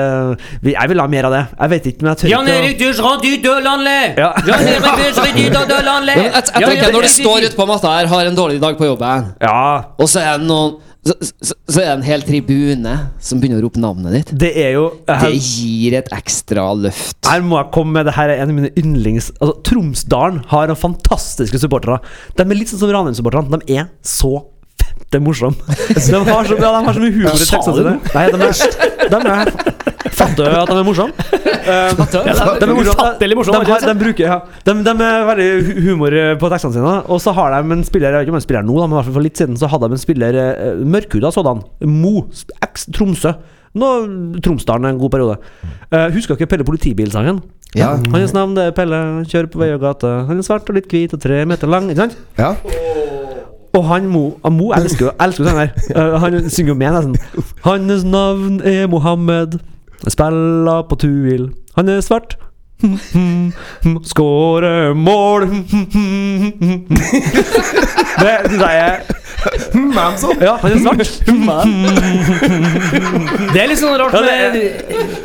Speaker 5: vi- Jeg vil ha mer av det. Jeg vet ikke, men jeg tør ikke å-
Speaker 3: Dusjrand, du Dølandet!
Speaker 5: Ja.
Speaker 3: Jan-Erik Dusjrand, du Dølandet!
Speaker 2: Jeg, jeg tenker Når du står ute på matta her, har en dårlig dag på jobben,
Speaker 5: Ja,
Speaker 2: og så er det noen så, så, så er det en hel tribune som begynner å rope navnet ditt.
Speaker 5: det er jo
Speaker 2: Det
Speaker 5: her,
Speaker 2: gir et ekstra løft.
Speaker 5: her må jeg komme med det her er en av mine yndlings altså, Tromsdalen har noen fantastiske supportere. De er litt sånn som Ranheim-supporterne. De er så fette morsomme. De har så, ja, de har så mye humor i
Speaker 3: Sa
Speaker 5: tekstene
Speaker 3: du
Speaker 5: sine. Nei, de er, de er Fatter du at de er morsomme? Um,
Speaker 3: de-
Speaker 5: de er
Speaker 3: ufattelig morsomme,
Speaker 5: De, har, de, bruker, ja. de, de er veldig hu- humor eh, på tekstene sine. Og så har de en spiller Jeg vet ikke om han spiller nå, da, men i hvert fall for litt siden så hadde de en spiller eh, mørkhuda sådan. Mo, eks Tromsø. Nå Tromsdalen en god periode. Eh, husker dere Pelle Politibilsangen?
Speaker 4: Ja.
Speaker 3: Mhm.
Speaker 5: Hans navn det er Pelle, han kjører på vei og gate. Han er svart og litt hvit og tre meter lang. Ikke sant?
Speaker 4: Ja.
Speaker 5: Og han Mo, han Mo jeg elsker jo jeg elsker jo den her. Eh, han synger jo med, nesten. Hans navn er Mohammed. Han Spiller på Tuil. Han er svart. Skårer mål. Det syns jeg er
Speaker 4: Hm, hvem så?
Speaker 5: Ja, han er svart.
Speaker 3: Det er litt sånn rart
Speaker 5: Ja,
Speaker 3: med
Speaker 5: det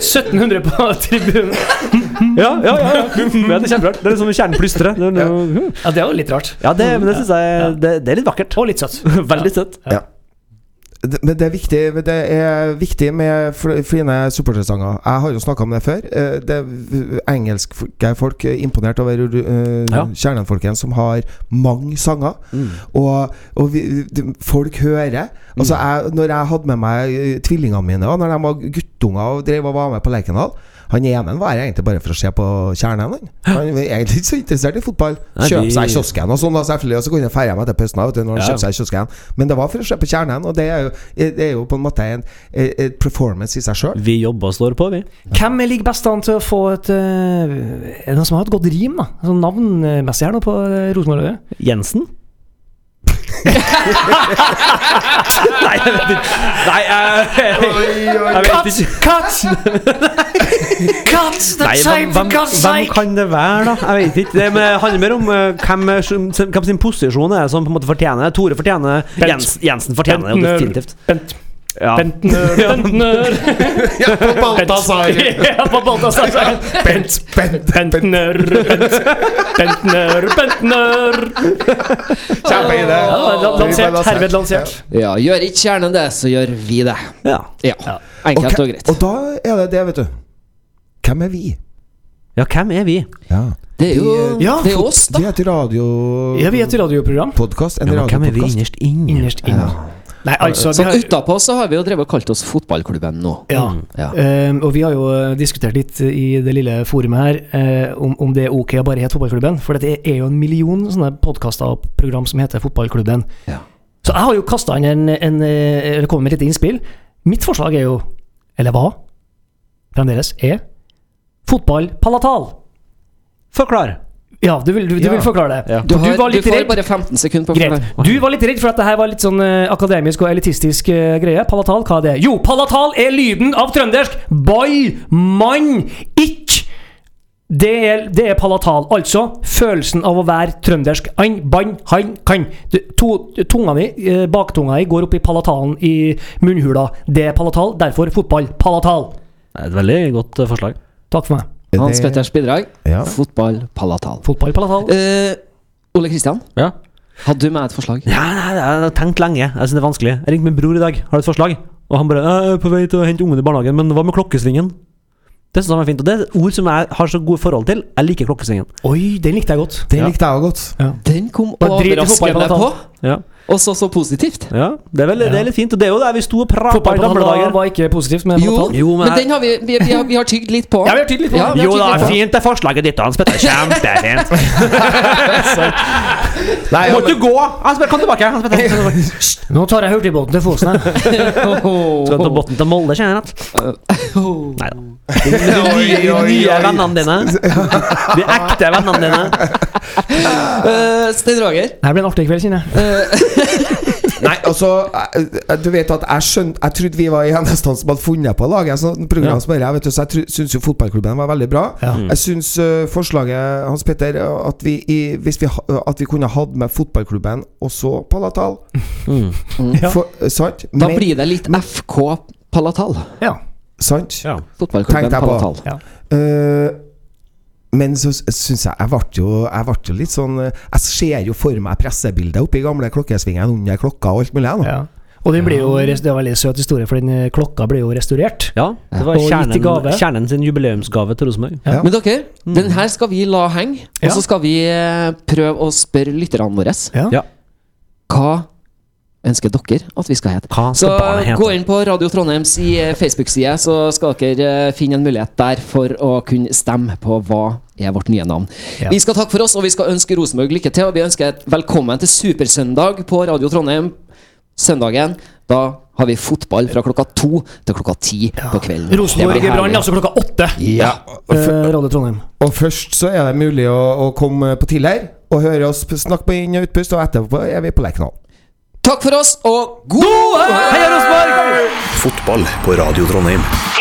Speaker 3: 1700 på tribunen.
Speaker 5: Ja, ja, ja. ja. ja det er kjemperart. Det er som kjernen plystrer. Det er noe-
Speaker 3: Ja, det er jo litt rart.
Speaker 5: Ja, det, men det syns jeg det, det er litt vakkert.
Speaker 3: Og litt søtt.
Speaker 5: Veldig søtt.
Speaker 4: Det- Men det er viktig, men det er viktig med fl- fine supportersanger. Jeg har jo snakka om det før. Eh, Det er engelske folk er imponert over eh,
Speaker 5: Ja.
Speaker 4: Kjernen-folkene som har mange sanger. Og, og vi, de- folk hører. Altså jeg, Når jeg hadde med meg eh, tvillingene mine, og når de var guttunger og drev og var med på Lerkendal Han ene var her egentlig bare for å se på Kjernen. Han, han var egentlig ikke så interessert i fotball.
Speaker 5: Nei,
Speaker 4: Kjøpe
Speaker 5: de-
Speaker 4: seg kiosken og sånn, da, selvfølgelig. Og så kunne jeg feire meg til pausen. da, vet du, når han
Speaker 5: Ja.
Speaker 4: kjøpte seg kiosken Men det var for å se på Kjernen, og det er jo, eh, det er jo på en måte en, eh, et performance i seg sjøl.
Speaker 5: Vi jobber og står på, vi.
Speaker 3: Hvem ligger best an til å få et øh, Er det noen som har et godt rim, da? Sånn navnmessig her nå på øh, Rosenborg-øyet?
Speaker 5: Jensen? Nei, jeg vet ikke. Nei, jeg, jeg vet ikke.
Speaker 3: Katt! Katt!
Speaker 5: Nei, hvem, hvem, hvem kan det være, da? Jeg vet ikke. Det med- handler mer om eh, hvem, er som- som- hvem sin posisjon er som på en måte fortjener det. Tore fortjener det.
Speaker 3: Bent.
Speaker 5: Jensen, Jensen fortjener det jo
Speaker 3: Bentner.
Speaker 5: definitivt.
Speaker 3: Bent,
Speaker 5: Ja.
Speaker 3: Bentner, Bentner Ja, på Balthazar. Bent,
Speaker 4: Bent-
Speaker 3: Bentner, Bent, Bentner, Bentner.
Speaker 4: Kjempeidé!
Speaker 3: Ja, lansert. Herved lansert.
Speaker 2: Ja, Gjør ikke kjernen det, så gjør vi det.
Speaker 5: ja.
Speaker 2: Ja,
Speaker 4: Og,
Speaker 2: Enkelt
Speaker 4: hva-
Speaker 2: og greit.
Speaker 4: og da er det det, vet du. Hvem er vi?
Speaker 5: ja, hvem er vi?
Speaker 4: Ja.
Speaker 2: Det er jo
Speaker 3: Ja,
Speaker 2: det er oss, da.
Speaker 4: Vi heter
Speaker 3: Ja, vi er
Speaker 4: Radio...
Speaker 3: et radioprogram.
Speaker 4: Podcast, en
Speaker 5: Ja, men hvem er vi
Speaker 4: radiopodkast.
Speaker 5: innerst inne?
Speaker 3: Innerst inne. Nei, altså vi
Speaker 2: Sånn
Speaker 3: har,
Speaker 2: utapå så har vi jo drevet og kalt oss fotballklubben nå.
Speaker 3: ja.
Speaker 2: Mm. Ja.
Speaker 3: Eh, og vi har jo eh, diskutert litt i det lille forumet her eh, om, om det er ok å bare hete Fotballklubben. For det er jo en million sånne podkaster og program som heter Fotballklubben.
Speaker 2: Ja.
Speaker 3: Så jeg har jo kasta inn en, en, eh, Eller kommet med et lite innspill. Mitt forslag er jo, eller hva fremdeles, er Fotballpalatal.
Speaker 5: Forklar.
Speaker 3: Ja, du vil, du, du
Speaker 4: Ja.
Speaker 3: vil forklare det.
Speaker 5: Ja.
Speaker 2: Du,
Speaker 3: For du
Speaker 2: har,
Speaker 3: var
Speaker 2: du
Speaker 3: litt
Speaker 2: får
Speaker 3: redd.
Speaker 2: bare 15 sekunder på å
Speaker 3: Greit.
Speaker 2: forklare.
Speaker 3: Du var litt redd for at det her var litt sånn eh, akademisk og elitistisk eh, greie. Palatal, hva er det? Jo, palatal er lyden av trøndersk ball, mann, ikk. Det er, det er palatal. Altså følelsen av å være trøndersk. Ein, bann, han, kan. Du, to, tunga mi, eh, baktunga mi, går opp i palatalen i munnhula. Det er palatal, derfor fotball. Palatal.
Speaker 5: Det er et veldig godt eh, forslag.
Speaker 3: Takk for meg.
Speaker 2: Hans Petters bidrag.
Speaker 4: Ja.
Speaker 2: Fotball palatal.
Speaker 3: Fotball, palatal.
Speaker 2: Eh, Ole Kristian,
Speaker 5: Ja.
Speaker 2: hadde du med et forslag?
Speaker 5: Ja, nei, nei, jeg har tenkt lenge. Jeg synes det er vanskelig. Jeg ringte min bror i dag. Har du et forslag? Og han bare «Jeg er på vei til å hente ungen i barnehagen, men hva med klokkesvingen? Det synes han var fint. Og det er et ord som jeg har så gode forhold til. Jeg liker klokkesvingen.
Speaker 3: Oi, den likte jeg godt.
Speaker 4: Det likte jeg òg godt.
Speaker 2: Den kom
Speaker 3: Bare drit i fotball
Speaker 2: overraskende på,
Speaker 3: palatal.
Speaker 5: Ja,
Speaker 2: og så så positivt.
Speaker 5: ja. Det, er vel, det er litt fint. Og det er jo der vi sto og prata i
Speaker 3: Fotball,
Speaker 5: gamle
Speaker 3: palatal
Speaker 5: dager.
Speaker 3: var ikke positivt, men
Speaker 2: Jo,
Speaker 3: palatal.
Speaker 5: Jo, men
Speaker 2: men
Speaker 5: jeg-
Speaker 2: den har vi, vi, vi, har, vi har tygd litt på.
Speaker 3: Ja, vi har tydelig på
Speaker 2: Ja, vi
Speaker 5: Jo da,
Speaker 2: tydelig på.
Speaker 5: fint det er forslaget ditt, Hans Petter. Kjempefint.
Speaker 4: Nei,
Speaker 5: Må
Speaker 4: ja,
Speaker 5: ikke gå! Hans Petter, kom tilbake. Hans Petter. Kom tilbake.
Speaker 3: Nå tar jeg hurtigbåten til Fosen her.
Speaker 5: Skal du ta båten til Molde, kjenner jeg. Nei da. De nye, de
Speaker 4: Oi, oi,
Speaker 5: nye
Speaker 4: oi.
Speaker 5: vennene dine. De ekte vennene dine.
Speaker 2: Eh, Stein Roger. eh,
Speaker 3: Det her blir en artig kveld, kjenner jeg.
Speaker 4: Nei, altså eh, Du vet at jeg skjønte Jeg trodde vi var i eneste han som hadde funnet på å lage et sånt program
Speaker 5: Ja.
Speaker 4: som dette, vet du, så jeg tro- syns jo fotballklubben var veldig bra.
Speaker 3: Ja.
Speaker 4: Jeg syns eh, forslaget hans Petter eh, at vi, i, hvis vi, ha- eh, at vi kunne hatt med fotballklubben også Palatal. Mm.
Speaker 5: Mm.
Speaker 3: Ja.
Speaker 4: For, eh, sant?
Speaker 2: Da
Speaker 4: Men-
Speaker 2: blir det litt FK Palatal.
Speaker 3: Ja.
Speaker 4: sant?
Speaker 5: Ja.
Speaker 2: Fotballklubben
Speaker 4: Tenkte jeg på.
Speaker 2: Palatal.
Speaker 4: Eh, men så s- syns jeg Jeg ble jo, jeg ble jo litt sånn eh, Jeg ser jo for meg pressebildet oppe i gamle klokkesvingen under klokka og alt mulig. jeg, nå.
Speaker 3: ja. Og den blir jo, res- det er en veldig søt historie, for den eh, klokka blir jo restaurert.
Speaker 5: ja, det var
Speaker 3: Og gitt i
Speaker 5: kjernen,
Speaker 3: gave.
Speaker 5: kjernen sin jubileumsgave til Rosenborg.
Speaker 4: Ja.
Speaker 2: Men dere, den her skal vi la henge.
Speaker 3: Mm. Ja.
Speaker 2: Og så skal vi eh, prøve å spørre lytterne våre
Speaker 3: Ja.
Speaker 5: Ja.
Speaker 2: hva ønsker dere at vi skal hete.
Speaker 5: Hva
Speaker 2: Så
Speaker 5: skal barnet hete?
Speaker 2: gå inn på Radio Trondheims i eh, Facebook-side, så skal dere eh, finne en mulighet der for å kunne stemme på hva er vårt nye navn.
Speaker 3: Ja.
Speaker 2: Vi skal takke for oss, og vi skal ønske Rosenborg lykke til. Og vi ønsker et velkommen til Supersøndag på Radio Trondheim søndagen. Da har vi fotball fra klokka to til klokka ti på kvelden. Det
Speaker 3: Rosenborg
Speaker 2: blir
Speaker 3: Brann,
Speaker 2: herlig.
Speaker 3: altså klokka åtte!
Speaker 2: Ja.
Speaker 3: Eh, Radio Trondheim.
Speaker 4: Og først så er det mulig å, å komme på tidligere og høre oss snakke på inn- og utpust, og etterpå er vi på Lerkendal.
Speaker 2: Takk for oss, og god helg!
Speaker 1: Fotball på Radio Trondheim.